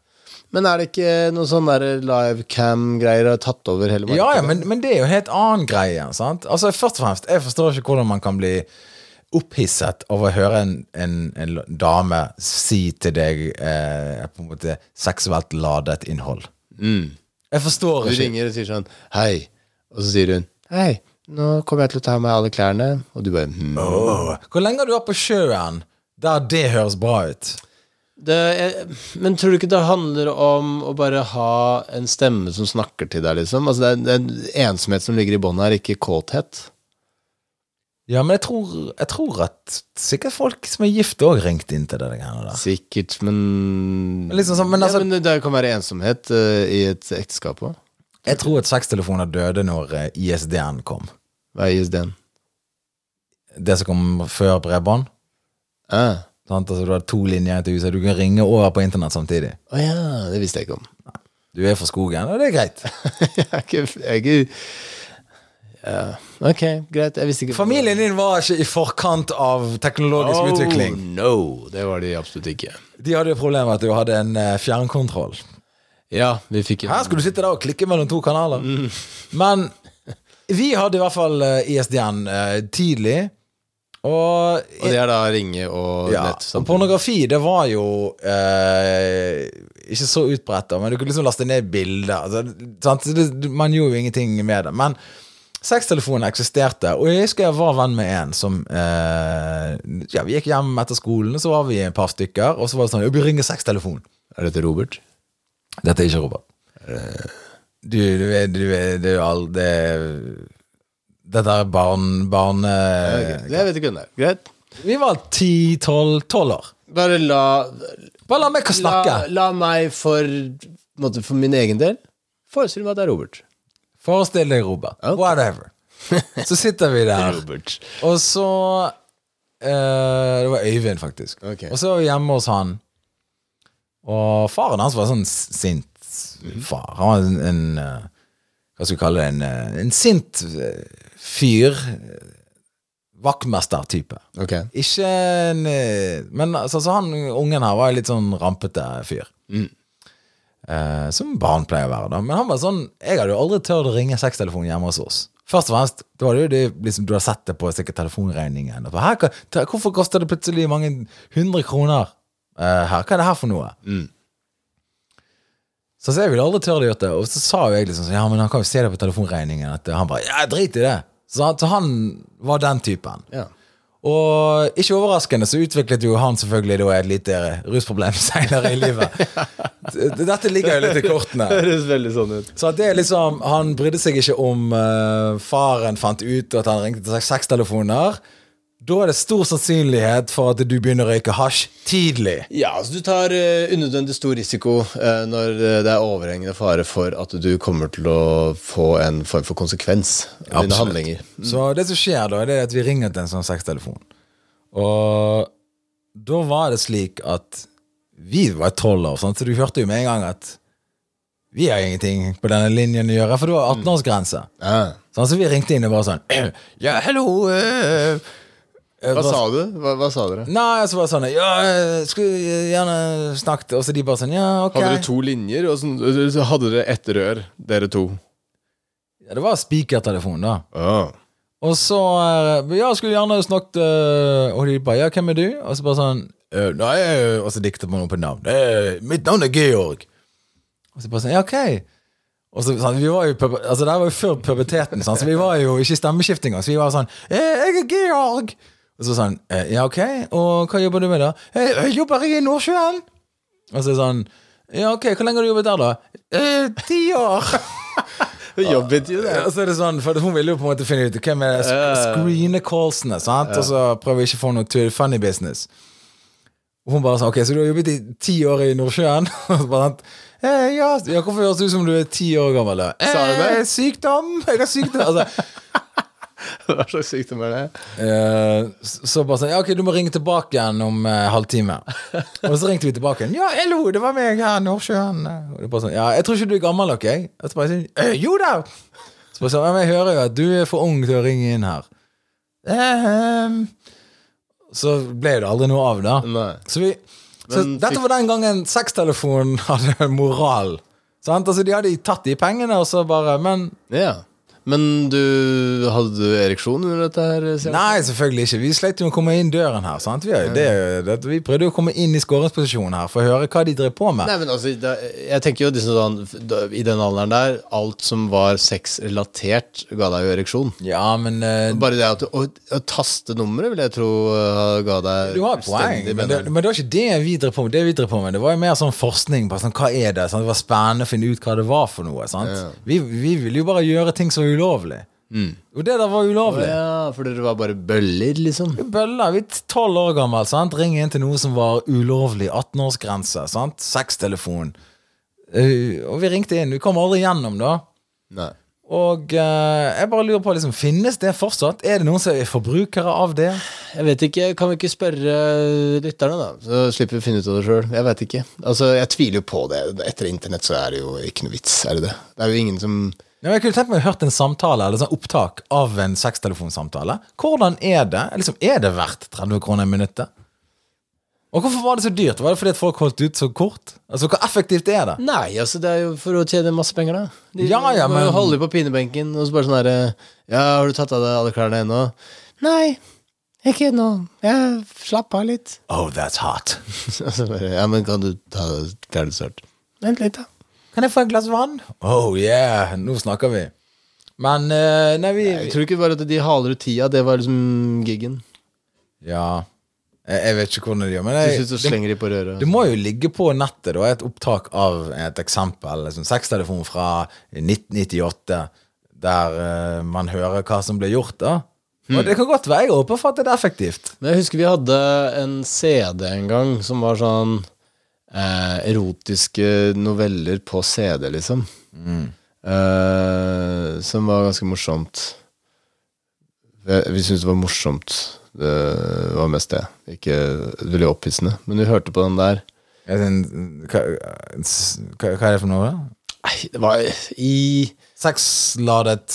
C: Men er det ikke noe sånn der livecam-greier har tatt over hele
B: Ja, ja men, men det er jo en helt annen greie. Sant? Altså, først og fremst, Jeg forstår ikke hvordan man kan bli opphisset av å høre en, en, en dame si til deg eh, på en måte seksuelt ladet innhold. Mm. Jeg forstår
C: Du
B: ikke.
C: ringer og sier sånn Hei. Og så sier hun Hei, nå kommer jeg til å ta av meg alle klærne. Og du bare hm.
B: Åh, Hvor lenge har du vært på sjøen der det høres bra ut?
C: det, jeg, Men tror du ikke det handler om å bare ha en stemme som snakker til deg, liksom? Altså, det er en ensomhet som ligger i bånn her, ikke kåthet.
B: Ja, men jeg tror, jeg tror at sikkert folk som er gift, òg ringte inn til det greiene der.
C: Sikkert, men
B: Men liksom sånn, men altså-
C: ja, men Det kan være ensomhet eh, i et ekteskap òg.
B: Jeg tror at sextelefoner døde når eh, ISDN kom.
C: Hva er ISD-en?
B: Det som kom før bredbånd.
C: Ah.
B: Sant? Altså, du har to linjer til huset. Du kan ringe over på internett samtidig.
C: Å ja, det visste jeg ikke om.
B: Du er fra skogen, og det er greit.
C: jeg er ikke, jeg er ikke ja. Ok, greit. Jeg visste ikke
B: Familien din var ikke i forkant av teknologisk
C: Oh,
B: utvikling.
C: No, det var de absolutt ikke.
B: De hadde jo problemet med at du hadde en eh, fjernkontroll.
C: Ja, vi fikk
B: Her skulle du sitte der og klikke mellom to kanaler. Men vi hadde i hvert fall eh, ISDN eh, tidlig. Og,
C: Og det er da ringe og
B: ja,
C: nett
B: og
C: samtidig.
B: pornografi, det var jo eh, ikke så utbredt, da, men du kunne liksom laste ned bilder. Altså, sant? Så Det, man gjorde jo ingenting med det. Men sextelefonen eksisterte, og jeg husker jeg var venn med en som eh, ja, Vi gikk hjem etter skolen, så var vi et par stykker, og så var det sånn «Ja, Vi ringer sextelefonen.
C: Er dette Robert?
B: Dette er ikke Robert.
C: Eh.
B: Du, du er, du er, du er all, det, Dette er barn... barn
C: Okay. Jeg vet ikke hvem det er. Greit.
B: Vi var ti, tolv, tolv år.
C: Bare la
B: Bare la meg
C: La,
B: snakke.
C: la meg for, på en måte, for min egen del forestille meg at det er Robert.
B: Forestill deg Robert.
C: Ok.
B: Whatever. Så sitter vi der,
C: Robert.
B: og så eh, Det var Øyvind, faktisk.
C: Ok.
B: Og så var vi hjemme hos han. Og faren hans var sånn sint far. Han var en, en eh, Hva skal vi kalle det? En, eh, en sint eh, fyr. eh, Vaktmester-type.
C: Ok.
B: Ikke en eh, Men altså, så han ungen her var en litt sånn rampete fyr. Eh, som barn pleier å være, da. Men han var sånn Jeg hadde jo aldri tørt å ringe sextelefonen hjemme hos oss. Først og fremst, det var jo det, liksom, du har sett det på sikkert telefonregningen. Og på, her, hva- ta- hvorfor koster det plutselig mange hundre kroner eh, her? Hva er det her for noe? Så, så jeg ville aldri tørre å gjøre det. Og så sa jo jeg liksom sånn, Ja, men han kan jo se det på telefonregningen. At han bare Ja, drit i det. Så, han- så han var den typen.
C: Ja.
B: Og ikke overraskende så utviklet jo han selvfølgelig da et lite rusproblem senere i livet. Dette ligger jo litt i kortene.
C: Høres veldig sånn ut.
B: Så at det er liksom, Han brydde seg ikke om eh, faren fant ut at han ringte til seks- seks telefoner. Da er det stor sannsynlighet for at du begynner å røyke hasj tidlig.
C: Ja, altså du tar eh, unødvendig stor risiko eh, når eh, det er overhengende fare for at du kommer til å få en form for konsekvens av dine
B: Absolutt.
C: handlinger.
B: Så det som skjer da, det er at vi ringer til en sånn sextelefon. Og da var det slik at vi var tolv år, sant? så du hørte jo med en gang at vi har ingenting på denne linjen å gjøre, for det var 18-årsgrense.
C: Ja.
B: Sånn, så vi ringte inn og bare sånn Ja, hello eh, eh,
C: Hva
B: bare-
C: sa du? Hva, hva sa dere?
B: Nei, så bare sånn Ja, eh, skulle gjerne snakket Og så de bare sånn, ja, ok
C: Hadde dere to linjer, og sånn, så hadde dere ett rør, dere to.
B: ja, Det var spikertelefon da
C: Å.
B: Og så eh, Ja, skulle gjerne snakket eh, Og de bare Ja, hvem er du? Og så bare sånn «Eh, Nei eh», Og så dikter man opp et navn. «Eh, mitt navn er Georg. Og så bare sånn Ja, ok. Og så, sånn, vi var jo, pub- altså Det her var jo før puberteten, sånn, så vi var jo ikke i stemmeskift engang. Så vi var sånn eh, 'Jeg er Georg'. Og så sånn eh, 'Ja, ok, og hva jobber du med, da?' «Eh, 'Jeg jobber i Nordsjøen'. Og så sånn 'Ja, ok, hvor lenge har du jobbet der, da?' «Eh, 'Ti år'.
C: Jobbintervju, det.
B: Ja, så er det sånn, for Hun ville jo på en måte finne ut hvem er sk screene callsene, sant? og så prøve å ikke få noe til funny business. Og hun bare sa ok, så du har jobbet i ti år i Nordsjøen? Og så bare sånn, eh, ja, ja, hvorfor høres du ut som du er ti år gammel? da?
C: Sa hun det?
B: Eh, sykdom! Jeg har sykdom! Altså,
C: Hva slags sykdom er det?
B: eh, så så bare sånn, ja, ok, du må ringe tilbake igjen om eh, halvtime. Og så ringte vi tilbake igjen. Ja, hallo, det var meg her, Nordsjøen. Og det bare sånn, ja, jeg tror ikke du er gammel, ok? Og så bare sånn, eh, jo da! Så bare sånn, ja, men jeg hører jo at du er for ung til å ringe inn her. Ehm. så ble det aldri noe av, da.
C: Nei.
B: Så, vi, så
C: Men
B: dette var den gangen sextelefonen hadde moral. Sant? Altså, de hadde tatt de pengene, og så bare Men
C: Ja. Men du hadde du ereksjon under dette her? Sian?
B: Nei, selvfølgelig ikke. Vi slet jo med å komme inn døren her. Sant? Vi, er jo- det, er jo- det, vi prøvde jo å komme inn i skåringsposisjonen her for å høre hva de drev på med.
C: Nei, men altså, da, jeg tenker jo liksom sånn, da, I den alderen der, alt som var sexrelatert, ga deg jo ereksjon.
B: Ja, men eh,
C: Bare det at du, å, å taste nummeret vil jeg tro eh, ga deg
B: du har et poeng,
C: fullstendig
B: men det,
C: bedre.
B: men det var ikke det vi drev på med. Det vi drev på med, det var jo mer sånn forskning på sånn, hva er det sant? Det var spennende å finne ut hva det var for noe. Sant? Vi, vi ville jo bare gjøre ting som var ulovlig. Og det der var ulovlig.
C: Mm. Ja, for dere var bare bøller, liksom.
B: Bølla, vi er tolv år gammel, sant? Ring inn til noe som var ulovlig. 18-årsgrense, sant? Sextelefon. Eh, og vi ringte inn. Vi kom aldri gjennom, da.
C: Nei.
B: Og eh, jeg bare lurer på, liksom, finnes det fortsatt? Er det noen som er forbrukere av det?
C: Jeg vet ikke, Kan vi ikke spørre eh, lytterne, da? Så slipper vi å finne ut av det sjøl. Jeg vet ikke. Altså, Jeg tviler jo på det. Etter internett så er det jo ikke noe vits. er Det det? Det er jo ingen som
B: Ja, men jeg kunne tenkt meg å hørt en samtale eller sånn opptak av en sextelefonsamtale. Hvordan er det? Liksom, er det verdt 30 kroner i minuttet? Og hvorfor var det så dyrt? Var det fordi at folk holdt ut så kort? Altså, Hvor effektivt er det?
C: Nei, altså det er jo for å tjene masse penger, da. De
B: Ja, ja,
C: må
B: men-
C: jo holde på pinebenken og så bare sånn herre Ja, har du tatt av deg alle klærne ennå? Nei, ikke ennå. Jeg slapp av litt.
B: Oh, that's hot.
C: Og så bare Ja, men kan du ta av deg klærne snart? Vent litt, da.
B: Kan jeg få et glass vann? Oh yeah, nå snakker vi. Men eh, Nei, vi
C: Jeg tror ikke bare at de haler ut tida, det var liksom giggen.
B: Ja. Jeg, jeg vet ikke hvordan de gjør men
C: Til
B: jeg,
C: slutt så
B: det.
C: slenger de på røret.
B: Det må jo ligge på nettet, da. Et opptak av et eksempel. Liksom, Sextelefon fra 1998, der eh, man hører hva som ble gjort, da. Og det kan godt være jeg er åpen for at det er effektivt.
C: Men jeg husker vi hadde en CD en gang som var sånn eh, erotiske noveller på CD, liksom. Eh, som var ganske morsomt. Vi, vi syntes det var morsomt. Det var mest det. Ikke veldig opphissende. Men vi hørte på den der.
B: Jeg synes, Hva, hva, hva er det for noe? da?
C: Nei, det var i
B: Sexladet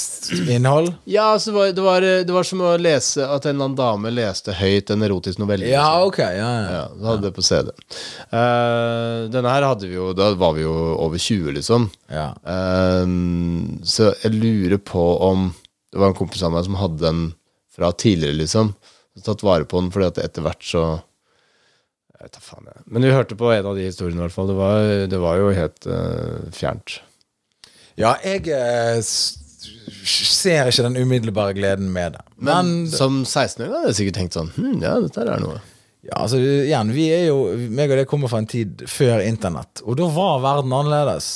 B: innhold?
C: Ja, altså, det var, det, var, det var som å lese at en eller annen dame leste høyt en erotisk novelle.
B: Ja, ok. Ja, ja.
C: Ja, så hadde det på CD. Eh, denne her hadde vi jo Da var vi jo over 20, liksom.
B: ja.
C: Eh, så jeg lurer på om Det var en kompis av meg som hadde den fra tidligere, liksom. Så tatt vare på den, fordi at etter hvert så Jeg vet da faen, jeg. Men vi hørte på en av de historiene, i hvert fall. Det var, det var jo helt eh, fjernt.
B: ja jeg eh, s- ser ikke den umiddelbare gleden med det.
C: Men, som 16-åring hadde jeg sikkert tenkt sånn Hm, ja, dette her er noe.
B: Ja, altså igjen, vi er jo meg og det kommer fra en tid før internett, og da var verden annerledes.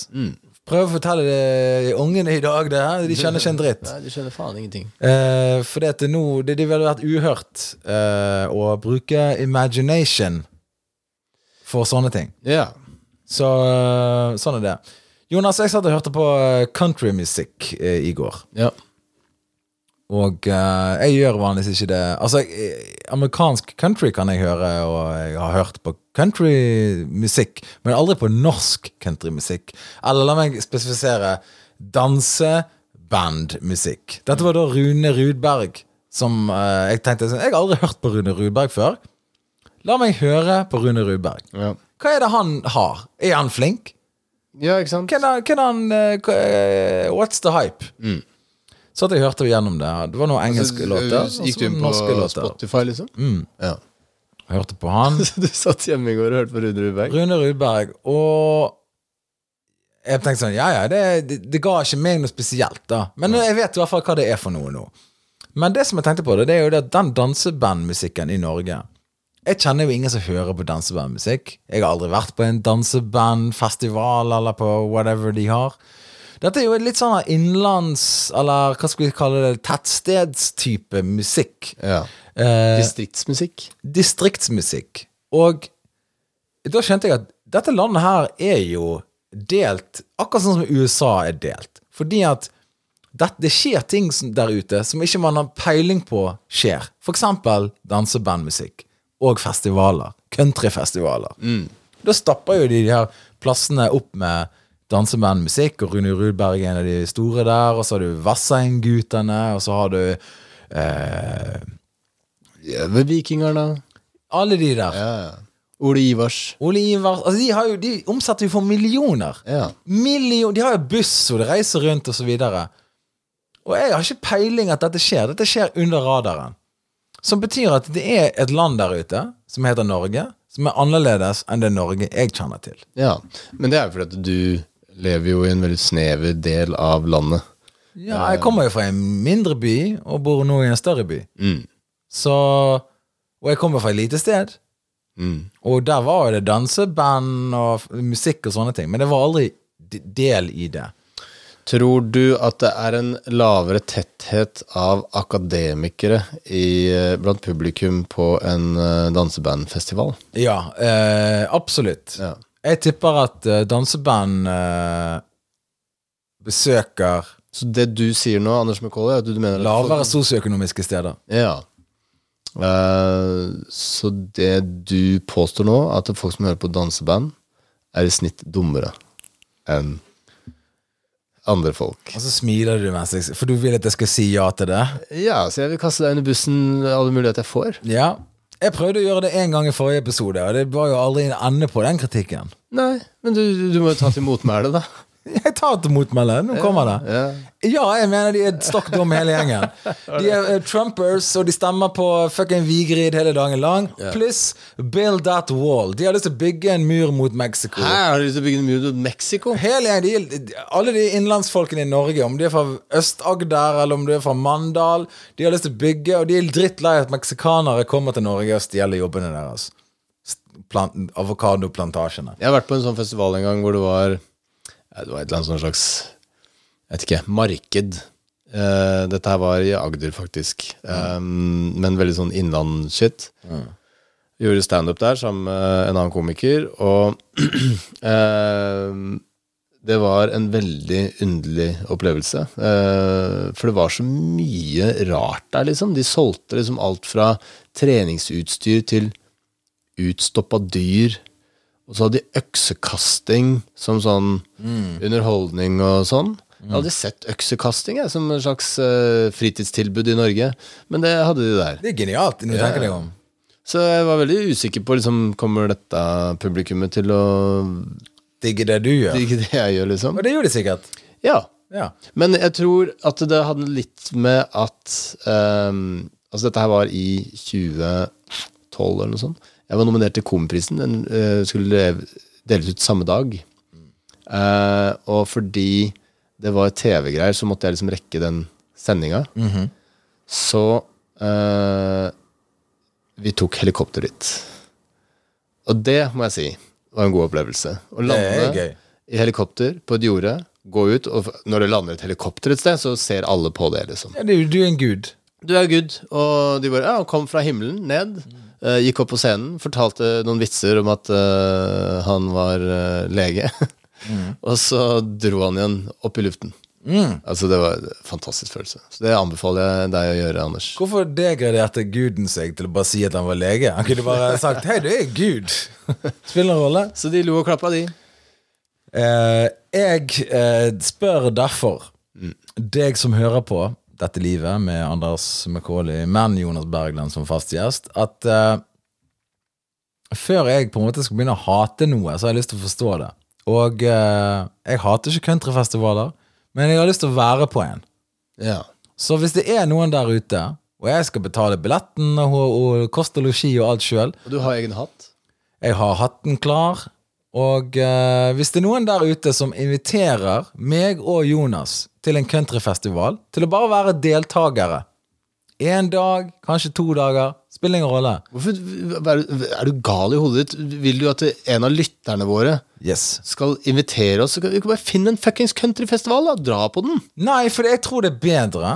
B: Prøv å fortelle det ungene i dag, det her. De kjenner ikke en dritt.
C: Nei, du skjønner faen ingenting.
B: Eh, for det at det nå det, det ville vært uhørt eh, å bruke imagination for sånne ting.
C: Ja.
B: Så eh, sånn er det. Jonas, jeg satt og hørte på eh, countrymusikk eh, i går.
C: ja.
B: Og eh, jeg gjør vanligvis ikke det Altså, jeg, amerikansk country kan jeg høre, og jeg har hørt på countrymusikk, men aldri på norsk countrymusikk. Eller la meg spesifisere dansebandmusikk. Dette var da Rune Rudberg som eh, Jeg tenkte sånn Jeg har aldri hørt på Rune Rudberg før. La meg høre på Rune Rudberg.
C: ja.
B: Hva er det han har? Er han flink?
C: Ja, ikke sant?
B: Hvem er- hvem er han eh, hva- eh, What's the hype? Så at jeg hørte gjennom det. Det var noen engelske låter. og
C: Gikk
B: så
C: Mm. Altså, du inn på
B: norske låter.
C: Spotify, liksom? Ja.
B: Hørte på han.
C: du satt hjemme i går og hørte på Rune Rudberg?
B: Rune Rudberg. Og jeg tenkte sånn Ja, ja, det, det, det ga ikke meg noe spesielt, da. Men jeg vet i hvert fall hva det er for noe nå. Men det som jeg tenkte på, det, det er jo det at den dansebandmusikken i Norge Jeg kjenner jo ingen som hører på dansebandmusikk. Jeg har aldri vært på en dansebandfestival eller på whatever de har. Dette er jo litt sånn innlands, eller hva skal vi kalle det, tettstedstype musikk.
C: Ja.
B: Eh,
C: Distriktsmusikk.
B: distriktsmusikk. Og da skjønte jeg at dette landet her er jo delt akkurat sånn som USA er delt. Fordi at det, det skjer ting som- der ute som ikke man har peiling på skjer. For eksempel dansebandmusikk og festivaler. Countryfestivaler. Da stapper jo de de her plassene opp med dansebandmusikk, og Rune Rudberg er en av de store der, og så har du Vassengutene, og så har du eh,
C: Ja, ved Vikingarna.
B: alle de der.
C: Ja, ja. Ole Ivars.
B: Ole Ivar altså de, har jo, de omsetter jo for millioner.
C: Ja.
B: Million, de har jo buss, og de reiser rundt og så videre. Og jeg har ikke peiling at dette skjer. Dette skjer under radaren. Som betyr at det er et land der ute som heter Norge, som er annerledes enn det Norge jeg kjenner til.
C: ja. Men det er jo fordi at du lever jo i en veldig snever del av landet.
B: Ja, jeg kommer jo fra en mindre by og bor nå i en større by.
C: Mm.
B: Så Og jeg kommer fra et lite sted.
C: Mm.
B: Og der var jo det danseband og f- musikk og sånne ting, men det var aldri d- del i det.
C: Tror du at det er en lavere tetthet av akademikere i, eh, blant publikum på en eh, dansebandfestival?
B: Ja, eh, absolutt.
C: Ja.
B: Jeg tipper at eh, danseband eh, besøker
C: Så det du sier nå, Anders McCauley, er at du mener at
B: lavere sosioøkonomiske steder.
C: Ja. Eh, så det du påstår nå, at folk som hører på danseband, er i snitt dummere enn andre folk.
B: Og så smiler du mens jeg For du vil at jeg skal si ja til det?
C: Ja, så jeg vil kaste deg under bussen alle muligheter jeg får.
B: Ja. Jeg prøvde å gjøre det én gang i forrige episode, og det var jo aldri en ende på den kritikken.
C: Nei, men du, du må jo ta til motmæle, da.
B: Jeg tar til motmæle. Nå kommer det.
C: Ja.
B: Ja, jeg mener de er stokk dumme hele gjengen. De er eh, Trumpers, og de stemmer på fucking Vigrid hele dagen lang. Pluss Build That Wall. De har lyst til å bygge en mur mot Mexico.
C: Her har du lyst til å bygge en mur mot Mexico?
B: Hele gjengen, de, de- alle de innlandsfolkene i Norge, om de er fra Øst-Agder eller om de er fra Mandal, de har lyst til å bygge, og de er drittlei at meksikanere kommer til Norge og stjeler jobbene deres. S- Plant, Avokadoplantasjene.
C: Jeg har vært på en sånn festival en gang hvor det var ja, Det var et eller annet sånn slags Jeg vet ikke, marked. Eh, dette her var i Agder, faktisk. Eh, men veldig sånn innlandsshit. Gjorde standup der sammen med en annen komiker, og eh, det var en veldig underlig opplevelse. Eh, for det var så mye rart der, liksom. De solgte liksom alt fra treningsutstyr til utstoppa dyr. Og så hadde de øksekasting som sånn underholdning og sånn. Jeg hadde aldri sett øksekasting jeg, som en slags eh, fritidstilbud i Norge, men det hadde de der.
B: Det er genialt, når du tenker deg om.
C: Så jeg var veldig usikker på liksom, kommer dette publikummet til å
B: Digge det du gjør.
C: digge det jeg gjør, liksom.
B: Og det gjør de sikkert.
C: Ja.
B: Ja.
C: Men jeg tror at det hadde litt med at ehm, Altså, dette her var i 2012 eller noe sånt. Jeg var nominert til Komiprisen. Den eh, skulle lev- deles ut samme dag. Eh, og fordi det var TV-greier, så måtte jeg liksom rekke den sendinga.
B: Mhm.
C: Så eh, vi tok helikopter dit. Og det, må jeg si, var en god opplevelse. Å lande
B: Det er gøy.
C: i helikopter på et jorde, gå ut, og f- når det lander et helikopter et sted, så ser alle på det, liksom.
B: Ja, du, du er en gud.
C: Du er good. Og de bare ja, han kom fra himmelen, ned. eh, gikk opp på scenen, fortalte noen vitser om at eh, han var eh, lege. og så dro han igjen opp i luften. Altså Det var en fantastisk følelse. Så det anbefaler jeg deg å gjøre, Anders.
B: Hvorfor degraderte guden seg til å bare si at han var lege? Han kunne bare sagt 'hei, du er gud'. Spiller noen rolle.
C: Så de lo og klappa, de.
B: Eh, jeg eh, spør derfor deg som hører på dette livet med Anders McCauley, men Jonas Bergland som fast gjest, at eh, før jeg på en måte skal begynne å hate noe, så har jeg lyst til å forstå det. Og eh, jeg hater ikke countryfestivaler, men jeg har lyst til å være på en.
C: Ja.
B: Så hvis det er noen der ute, og jeg skal betale billetten og, og kost og losji og alt sjøl,
C: Og du har egen hatt?
B: jeg har hatten klar. Og eh, hvis det er noen der ute som inviterer meg og Jonas til en countryfestival, til å bare være deltakere Én dag, kanskje to dager, spiller ingen rolle.
C: Hvorfor, hva er, du- er du gal i hodet ditt? Vil du at en av lytterne våre
B: Yes.
C: skal invitere oss? Så kan Vi kan bare finne en fuckings countryfestival, da. Dra på den.
B: Nei, for jeg tror det er bedre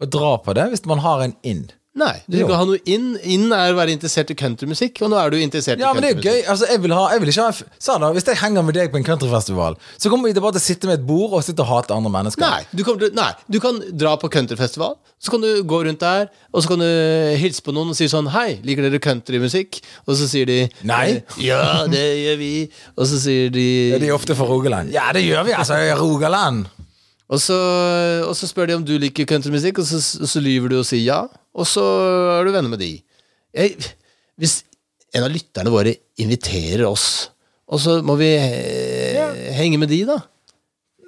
B: å dra på det hvis man har en inn.
C: Nei, du
B: Jo.
C: skal ha noe inn. Inn er å være interessert i countrymusikk, og nå er du interessert
B: Ja,
C: i
B: men det er jo
C: countrymusikk.
B: gøy. Altså, jeg vil ha, jeg vil ikke ha en f- Sa da, Hvis jeg henger med deg på en countryfestival, så kommer vi til bare til å sitte med et bord og sitte og hate andre mennesker.
C: Nei du, kommer til, nei, du kan dra på countryfestival, så kan du gå rundt der, og så kan du hilse på noen og si sånn Hei, liker dere countrymusikk? Og så sier de "Eh,
B: Nei.
C: Ja, det gjør vi. Og så sier de,
B: Ja, De er ofte fra Rogaland. Ja, det gjør vi, altså. i Rogaland.
C: og, så, og så spør de om du liker countrymusikk, og så, så lyver du og sier ja. Og så er du venner med de. Jeg, hvis en av lytterne våre inviterer oss, og så må vi eh, henge med de, da.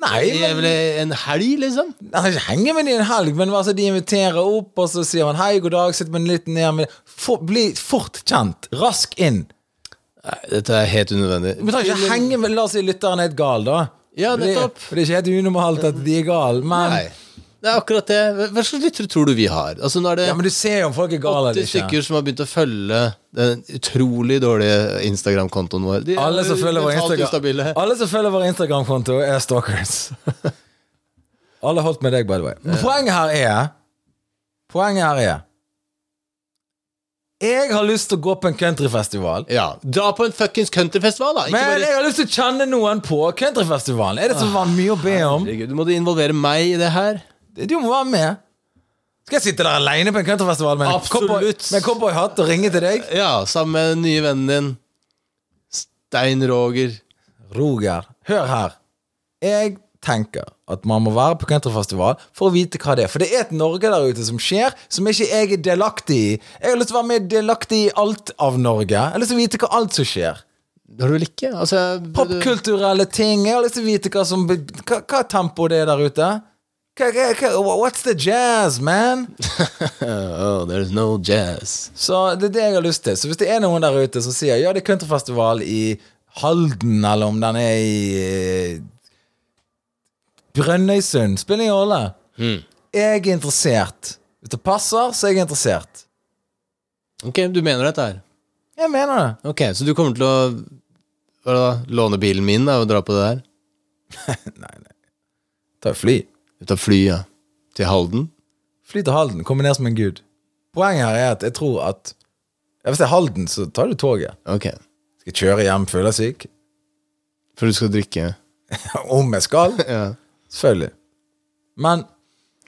B: Nei,
C: Det er
B: men
C: vel en helg, liksom?
B: Han ikke henger med dem en helg, men altså, de inviterer opp, og så sier man hei, god dag, sitter man litt ned med For, Bli fort kjent. Rask inn.
C: Nei, dette er helt unødvendig.
B: Vi trenger ikke henge med La oss si lytteren er helt gal, da.
C: Ja,
B: For det-
C: nettopp.
B: For det er ikke helt unormalt at de er gale, men
C: Nei. Det er akkurat det. Hva- Hva slags lyttere tror du vi har? Altså, nå er det
B: Ja, men du ser jo om folk er gale eller
C: 80
B: ikke.
C: stykker som har begynt å følge den utrolig dårlige Instagram-kontoen vår. De er
B: Alle som følger vår
C: mentalt
B: Instagram-
C: ustabile.
B: Alle som følger vår Instagram-konto, er stalkers. Alle holdt med deg, by the way. Men poenget her er Poenget her er Jeg har lyst til å gå på en countryfestival.
C: Ja. Dra på en fuckings countryfestival, da! Ikke
B: Men
C: bare
B: jeg har lyst til å kjenne noen på countryfestivalen. Er det så van- mye å be om?
C: Herregud, Du må involvere meg i det her.
B: Du må være med. Skal jeg sitte der aleine på en countryfestival med en
C: Absolutt.
B: cowboy- med en cowboyhatt og ringe til deg?
C: Ja, sammen med den nye vennen din. Stein Roger.
B: Roger, hør her. Jeg tenker at man må være på countryfestival for å vite hva det er. For det er et Norge der ute som skjer, som ikke jeg er delaktig i. Jeg har lyst til å være med delaktig i alt av Norge. Jeg har lyst til å vite hva alt som skjer.
C: Har du vel ikke? Altså,
B: Popkulturelle ting. Jeg har lyst til å vite hva som Hva, hva tempo det er der ute. Hva, hva, hva, what's the jazz, man?
C: Oh, there's no jazz.
B: Så det er det jeg har lyst til. Så hvis det er noen der ute som sier ja, det er countryfestival i Halden, eller om den er i eh, Brønnøysund, spiller ingen rolle. Hmm. Jeg er interessert. Hvis det passer, så er jeg interessert.
C: Ok, du mener dette her?
B: Jeg mener det.
C: Ok, så du kommer til å hva da, låne bilen min da, og dra på det her?
B: Ta et fly.
C: Du tar fly, ja. Til Halden?
B: Fly til Halden. Kommer ned som en gud. Poenget her er at jeg tror at ja, Hvis det er Halden, så tar du toget.
C: Ok.
B: Skal kjøre hjem, føler jeg syk.
C: For du skal drikke?
B: Om jeg skal.
C: Ja.
B: Selvfølgelig. Men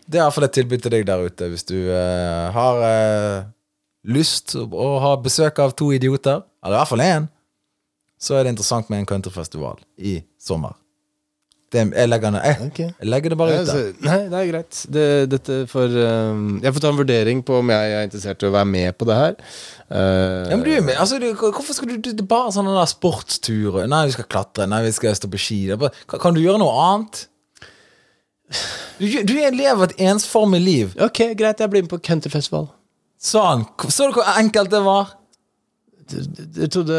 B: det er iallfall et tilbud til deg der ute hvis du eh, har eh, lyst å ha besøk av to idioter, eller i hvert fall én, så er det interessant med en countryfestival i sommer. Det, jeg, legger, jeg,
C: Ok.
B: jeg legger det bare ut
C: så,
B: der.
C: nei, det er greit. Det, dette får ehm, Jeg får ta en vurdering på om jeg er interessert i å være med på det her. Eh,
B: Ja, men du er med. Altså, du, hvorfor skal du, du Det er bare sånne der sportsturer. Nei, vi skal klatre. Nei, vi skal stå på ski. Det er bare, kan, kan du gjøre noe annet? Du, gjør- du lever et ensformig liv.
C: Ok, greit, jeg blir med på countryfestival.
B: Sånn. Så du hvor enkelt det var?
C: Jeg trodde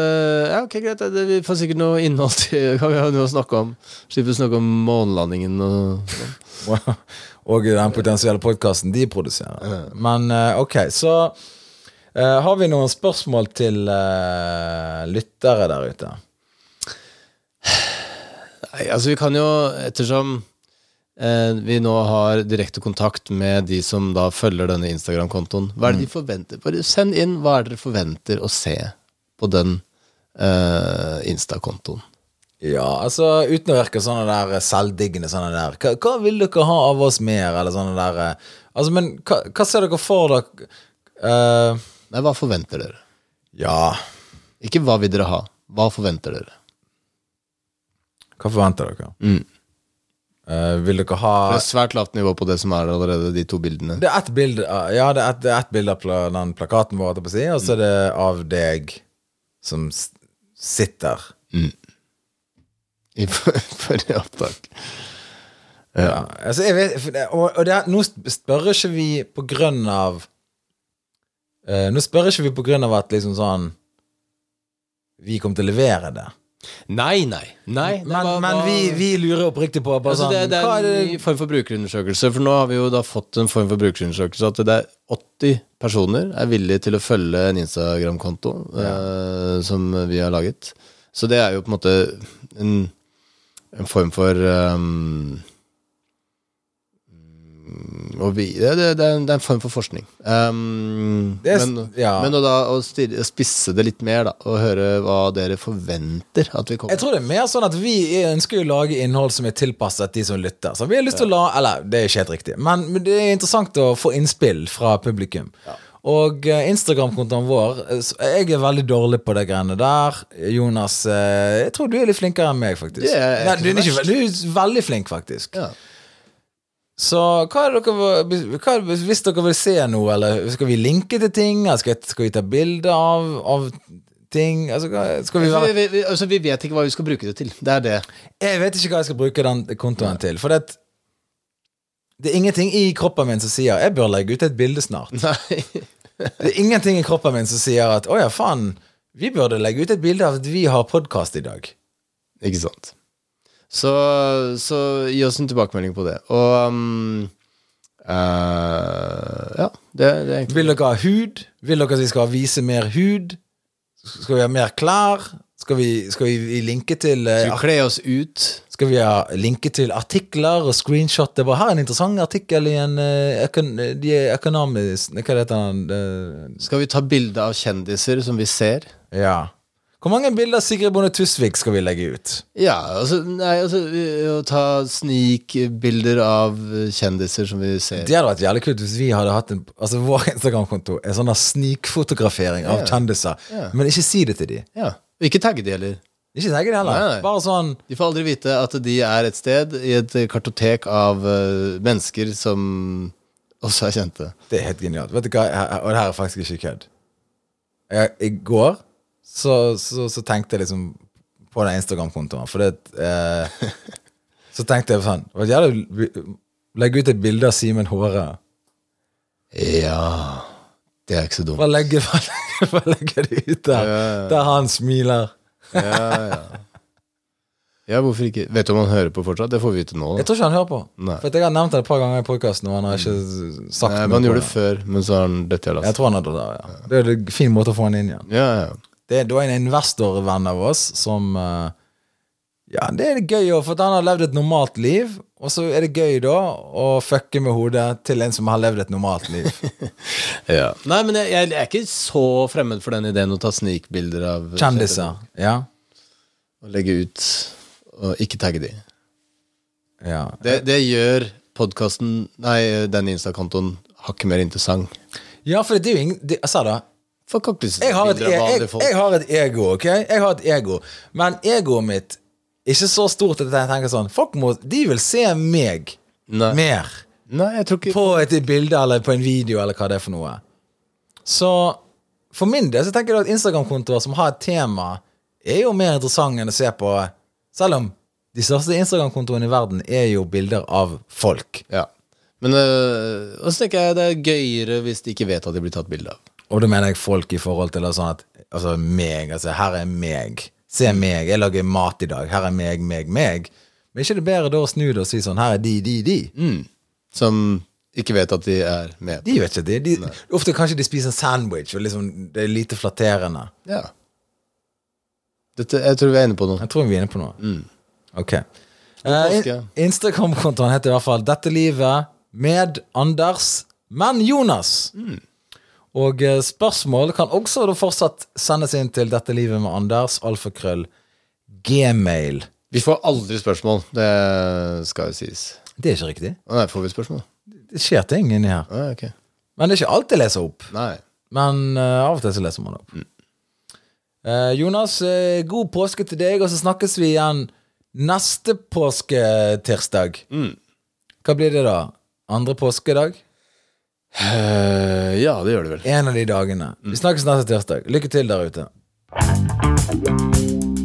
C: Ja, ok, greit, det, vi får sikkert noe innhold til Kan vi ha noe å snakke om? Slipper å snakke om månelandingen og sånn.
B: Wow. og den potensielle podkasten de produserer. Men eh, ok, så eh, har vi noen spørsmål til eh, lyttere der ute.
C: Nei, altså vi kan jo, ettersom eh, vi nå har direkte kontakt med de som da følger denne Instagram-kontoen, hva
B: Mm.
C: er det de forventer? Bare send inn hva er det dere forventer å se på den eh, Insta-kontoen.
B: Ja, altså uten å virke sånne der eh, selvdiggende sånne der Hva, hva vil dere ha av oss mer, eller sånne der eh, Altså, men hva, hva ser dere for dere eh,
C: Nei, hva forventer dere?
B: Ja,
C: Ikke hva vil dere ha, hva forventer dere?
B: hva forventer dere? Eh, vil dere ha
C: Det er svært lavt nivå på det som er allerede, de to bildene.
B: Det er ett bilde av- Ja, det er ett et bilde av pla- den plakaten vår, holdt jeg på å si, og så er det av deg som s- sitter.
C: I for- forrige opptak.
B: Ja, altså jeg vet, for det- og, og det, er- nå spør ikke vi på grunn av eh, Nå spør ikke vi på grunn av at liksom sånn Vi kommer til å levere det.
C: Nei, nei. nei det
B: Men,
C: var-
B: men
C: var-
B: vi, vi lurer oppriktig på bare
C: altså,
B: sånn,
C: det, det
B: hva
C: er
B: er
C: en
B: det
C: ny form for brukerundersøkelse, for nå har vi jo da fått en form for brukerundersøkelse at det er 80 personer er villige til å følge en Instagram-konto eh, som vi har laget. Så det er jo på en måte en, en form for ehm, og vi, det, det, det, er en, det er en form for forskning. Ehm,
B: Det er s-
C: men
B: ja.
C: men å da, å stirre- spisse det litt mer, da, og høre hva dere forventer at vi kommer
B: Jeg tror det er mer sånn at vi ønsker å lage innhold som er tilpasset de som lytter. Så vi har lyst til å la Eller, det er ikke helt riktig, men, men det er interessant å få innspill fra publikum. Og eh, Instagram-kontoen vår eh, s- Jeg er veldig dårlig på de greiene der. Jonas, eh, jeg tror du er litt flinkere enn meg, faktisk.
C: Det er
B: Nei,
C: ikke
B: du, er
C: så
B: ikke, du
C: verst.
B: er veldig flink, faktisk.
C: Ja.
B: Så hva er det dere hva, er det- Hvis dere vil se noe, eller skal vi linke til ting? Eller skal, jeg- skal vi ta bilde av, av ting? Altså, hva- skal vi være
C: vi, vi, vi, altså, vi vet ikke hva vi skal bruke det til. Det er det.
B: Jeg vet ikke hva jeg skal bruke den kontoen til. For det, det er ingenting i kroppen min som sier Jeg bør legge ut et bilde snart.
C: Nei.
B: Det er ingenting i kroppen min som sier at å ja, faen, vi burde legge ut et bilde av at vi har podkast i dag.
C: Ikke sant. Så, så gi oss en tilbakemelding på det. Og um, eh, Ja, det, det er egentlig
B: Vil dere ha hud? Vil dere at vi skal vise mer hud? Skal vi ha mer klær? Skal vi, skal vi linke til eh,
C: Skal vi kle oss ut?
B: Skal vi ha linke til artikler og screenshot? Det var her en interessant artikkel i en eh, økon, de er økonomisk Hva heter den? eh,
C: Skal vi ta bilde av kjendiser som vi ser?
B: Ja. Hvor mange bilder av Sigrid Bonde Tusvik skal vi legge ut?
C: Ja, altså, nei, altså eh, Å ta snikbilder av eh, kjendiser som vi ser.
B: Det hadde vært jævlig kult hvis vi hadde hatt en Altså vår Instagram-konto er sånn der snikfotografering av
C: Ja.
B: kjendiser.
C: Ja.
B: Men ikke si det til de
C: Ja. Og ikke tagge de heller.
B: Ikke tenk det heller.
C: Nei, nei.
B: Bare sånn
C: De får aldri vite at de er et sted i et kartotek av eh, mennesker som også er kjente.
B: Det er helt genialt. Vet du hva, Her- Og det her er faktisk ikke kødd. Jeg- I går så, så, så tenkte jeg liksom på den Instagram-kontoen, for det eh, Så tenkte jeg sånn Det var jævlig Legge ut et bilde av Simen Håre.
C: Ja Det er ikke så dumt.
B: Bare legge, bare legge, bare legge det ut der.
C: Ja,
B: Der han smiler.
C: Ja, hvorfor ikke? Vet du om han hører på fortsatt? Det får vi vite nå.
B: Jeg
C: Da.
B: tror ikke han hører på.
C: Nei.
B: For at Jeg har nevnt det et par ganger i podkasten, og han har ikke sagt noe
C: Nei, Eh, men han
B: på
C: gjorde det før, men så har han dette gjeldt.
B: Jeg tror han hadde det, ja. Det er en fin måte å få han inn igjen.
C: altså. Ja, ja.
B: Det, det var en investorvenn av oss som eh, Ja, det er gøy, også, for at han har levd et normalt liv, og så er det gøy da å fucke med hodet til en som har levd et normalt liv.
C: ja. Nei, men jeg, jeg er ikke så fremmed for den ideen å ta snikbilder av
B: Kjendiser. Ja.
C: Og legge ut og ikke tagge de.
B: ja.
C: Det, det gjør podkasten, nei, eh, den Insta-kontoen, hakket mer interessant.
B: Ja, for det er jo ingen det, Jeg sa det.
C: For kaktus
B: jeg har, et, e-
C: bilder av
B: jeg,
C: vanlige
B: jeg
C: folk.
B: har et ego, ok? Jeg har et ego. Men egoet mitt er ikke så stort at jeg tenker sånn Folk må, de vil se meg
C: Nei.
B: mer
C: Nei, jeg tror ikke
B: på et bilde eller på en video eller hva det er for noe. Så for min del så tenker jeg at Instagram-kontoer som har et tema, er jo mer interessant enn å se på Selv om de største Instagram-kontoene i verden er jo bilder av folk.
C: Ja. Men øh, og så tenker jeg det er gøyere hvis de ikke vet at de blir tatt bilde av.
B: Og da mener jeg folk i forhold til sånn at Altså meg, altså her er meg. Se meg, jeg lager mat i dag. Her er meg, meg, meg. Men ikke det bedre da å snu det og si sånn her er de, de, de?
C: Som ikke vet at de er med.
B: De vet ikke det. De, ofte kanskje de spiser en sandwich, og liksom det er lite flatterende.
C: Ja. Dette, jeg tror vi er inne på noe.
B: Jeg tror vi er inne på noe. Ok.
C: påske.
B: Eh, in- Instagram-kontoen heter i hvert fall 'Dette livet med Anders, men Jonas'. Og eh, spørsmål kan også da fortsatt sendes inn til 'Dette livet med Anders', alfakrøll, gmail.
C: Vi får aldri spørsmål, det skal jo sies.
B: Det er ikke riktig.
C: Å nei, får vi spørsmål?
B: Det skjer ting inni her.
C: Å, ok.
B: Men det er ikke alt jeg leser opp.
C: Nei.
B: Men eh, av og til så leser man det opp. Eh, Jonas, eh, god påske til deg, og så snakkes vi igjen neste påsketirsdag. Hva blir det da? Andre påskedag?
C: Eh, ja, det gjør det vel.
B: En av de dagene. Vi snakkes neste tirsdag. Lykke til der ute.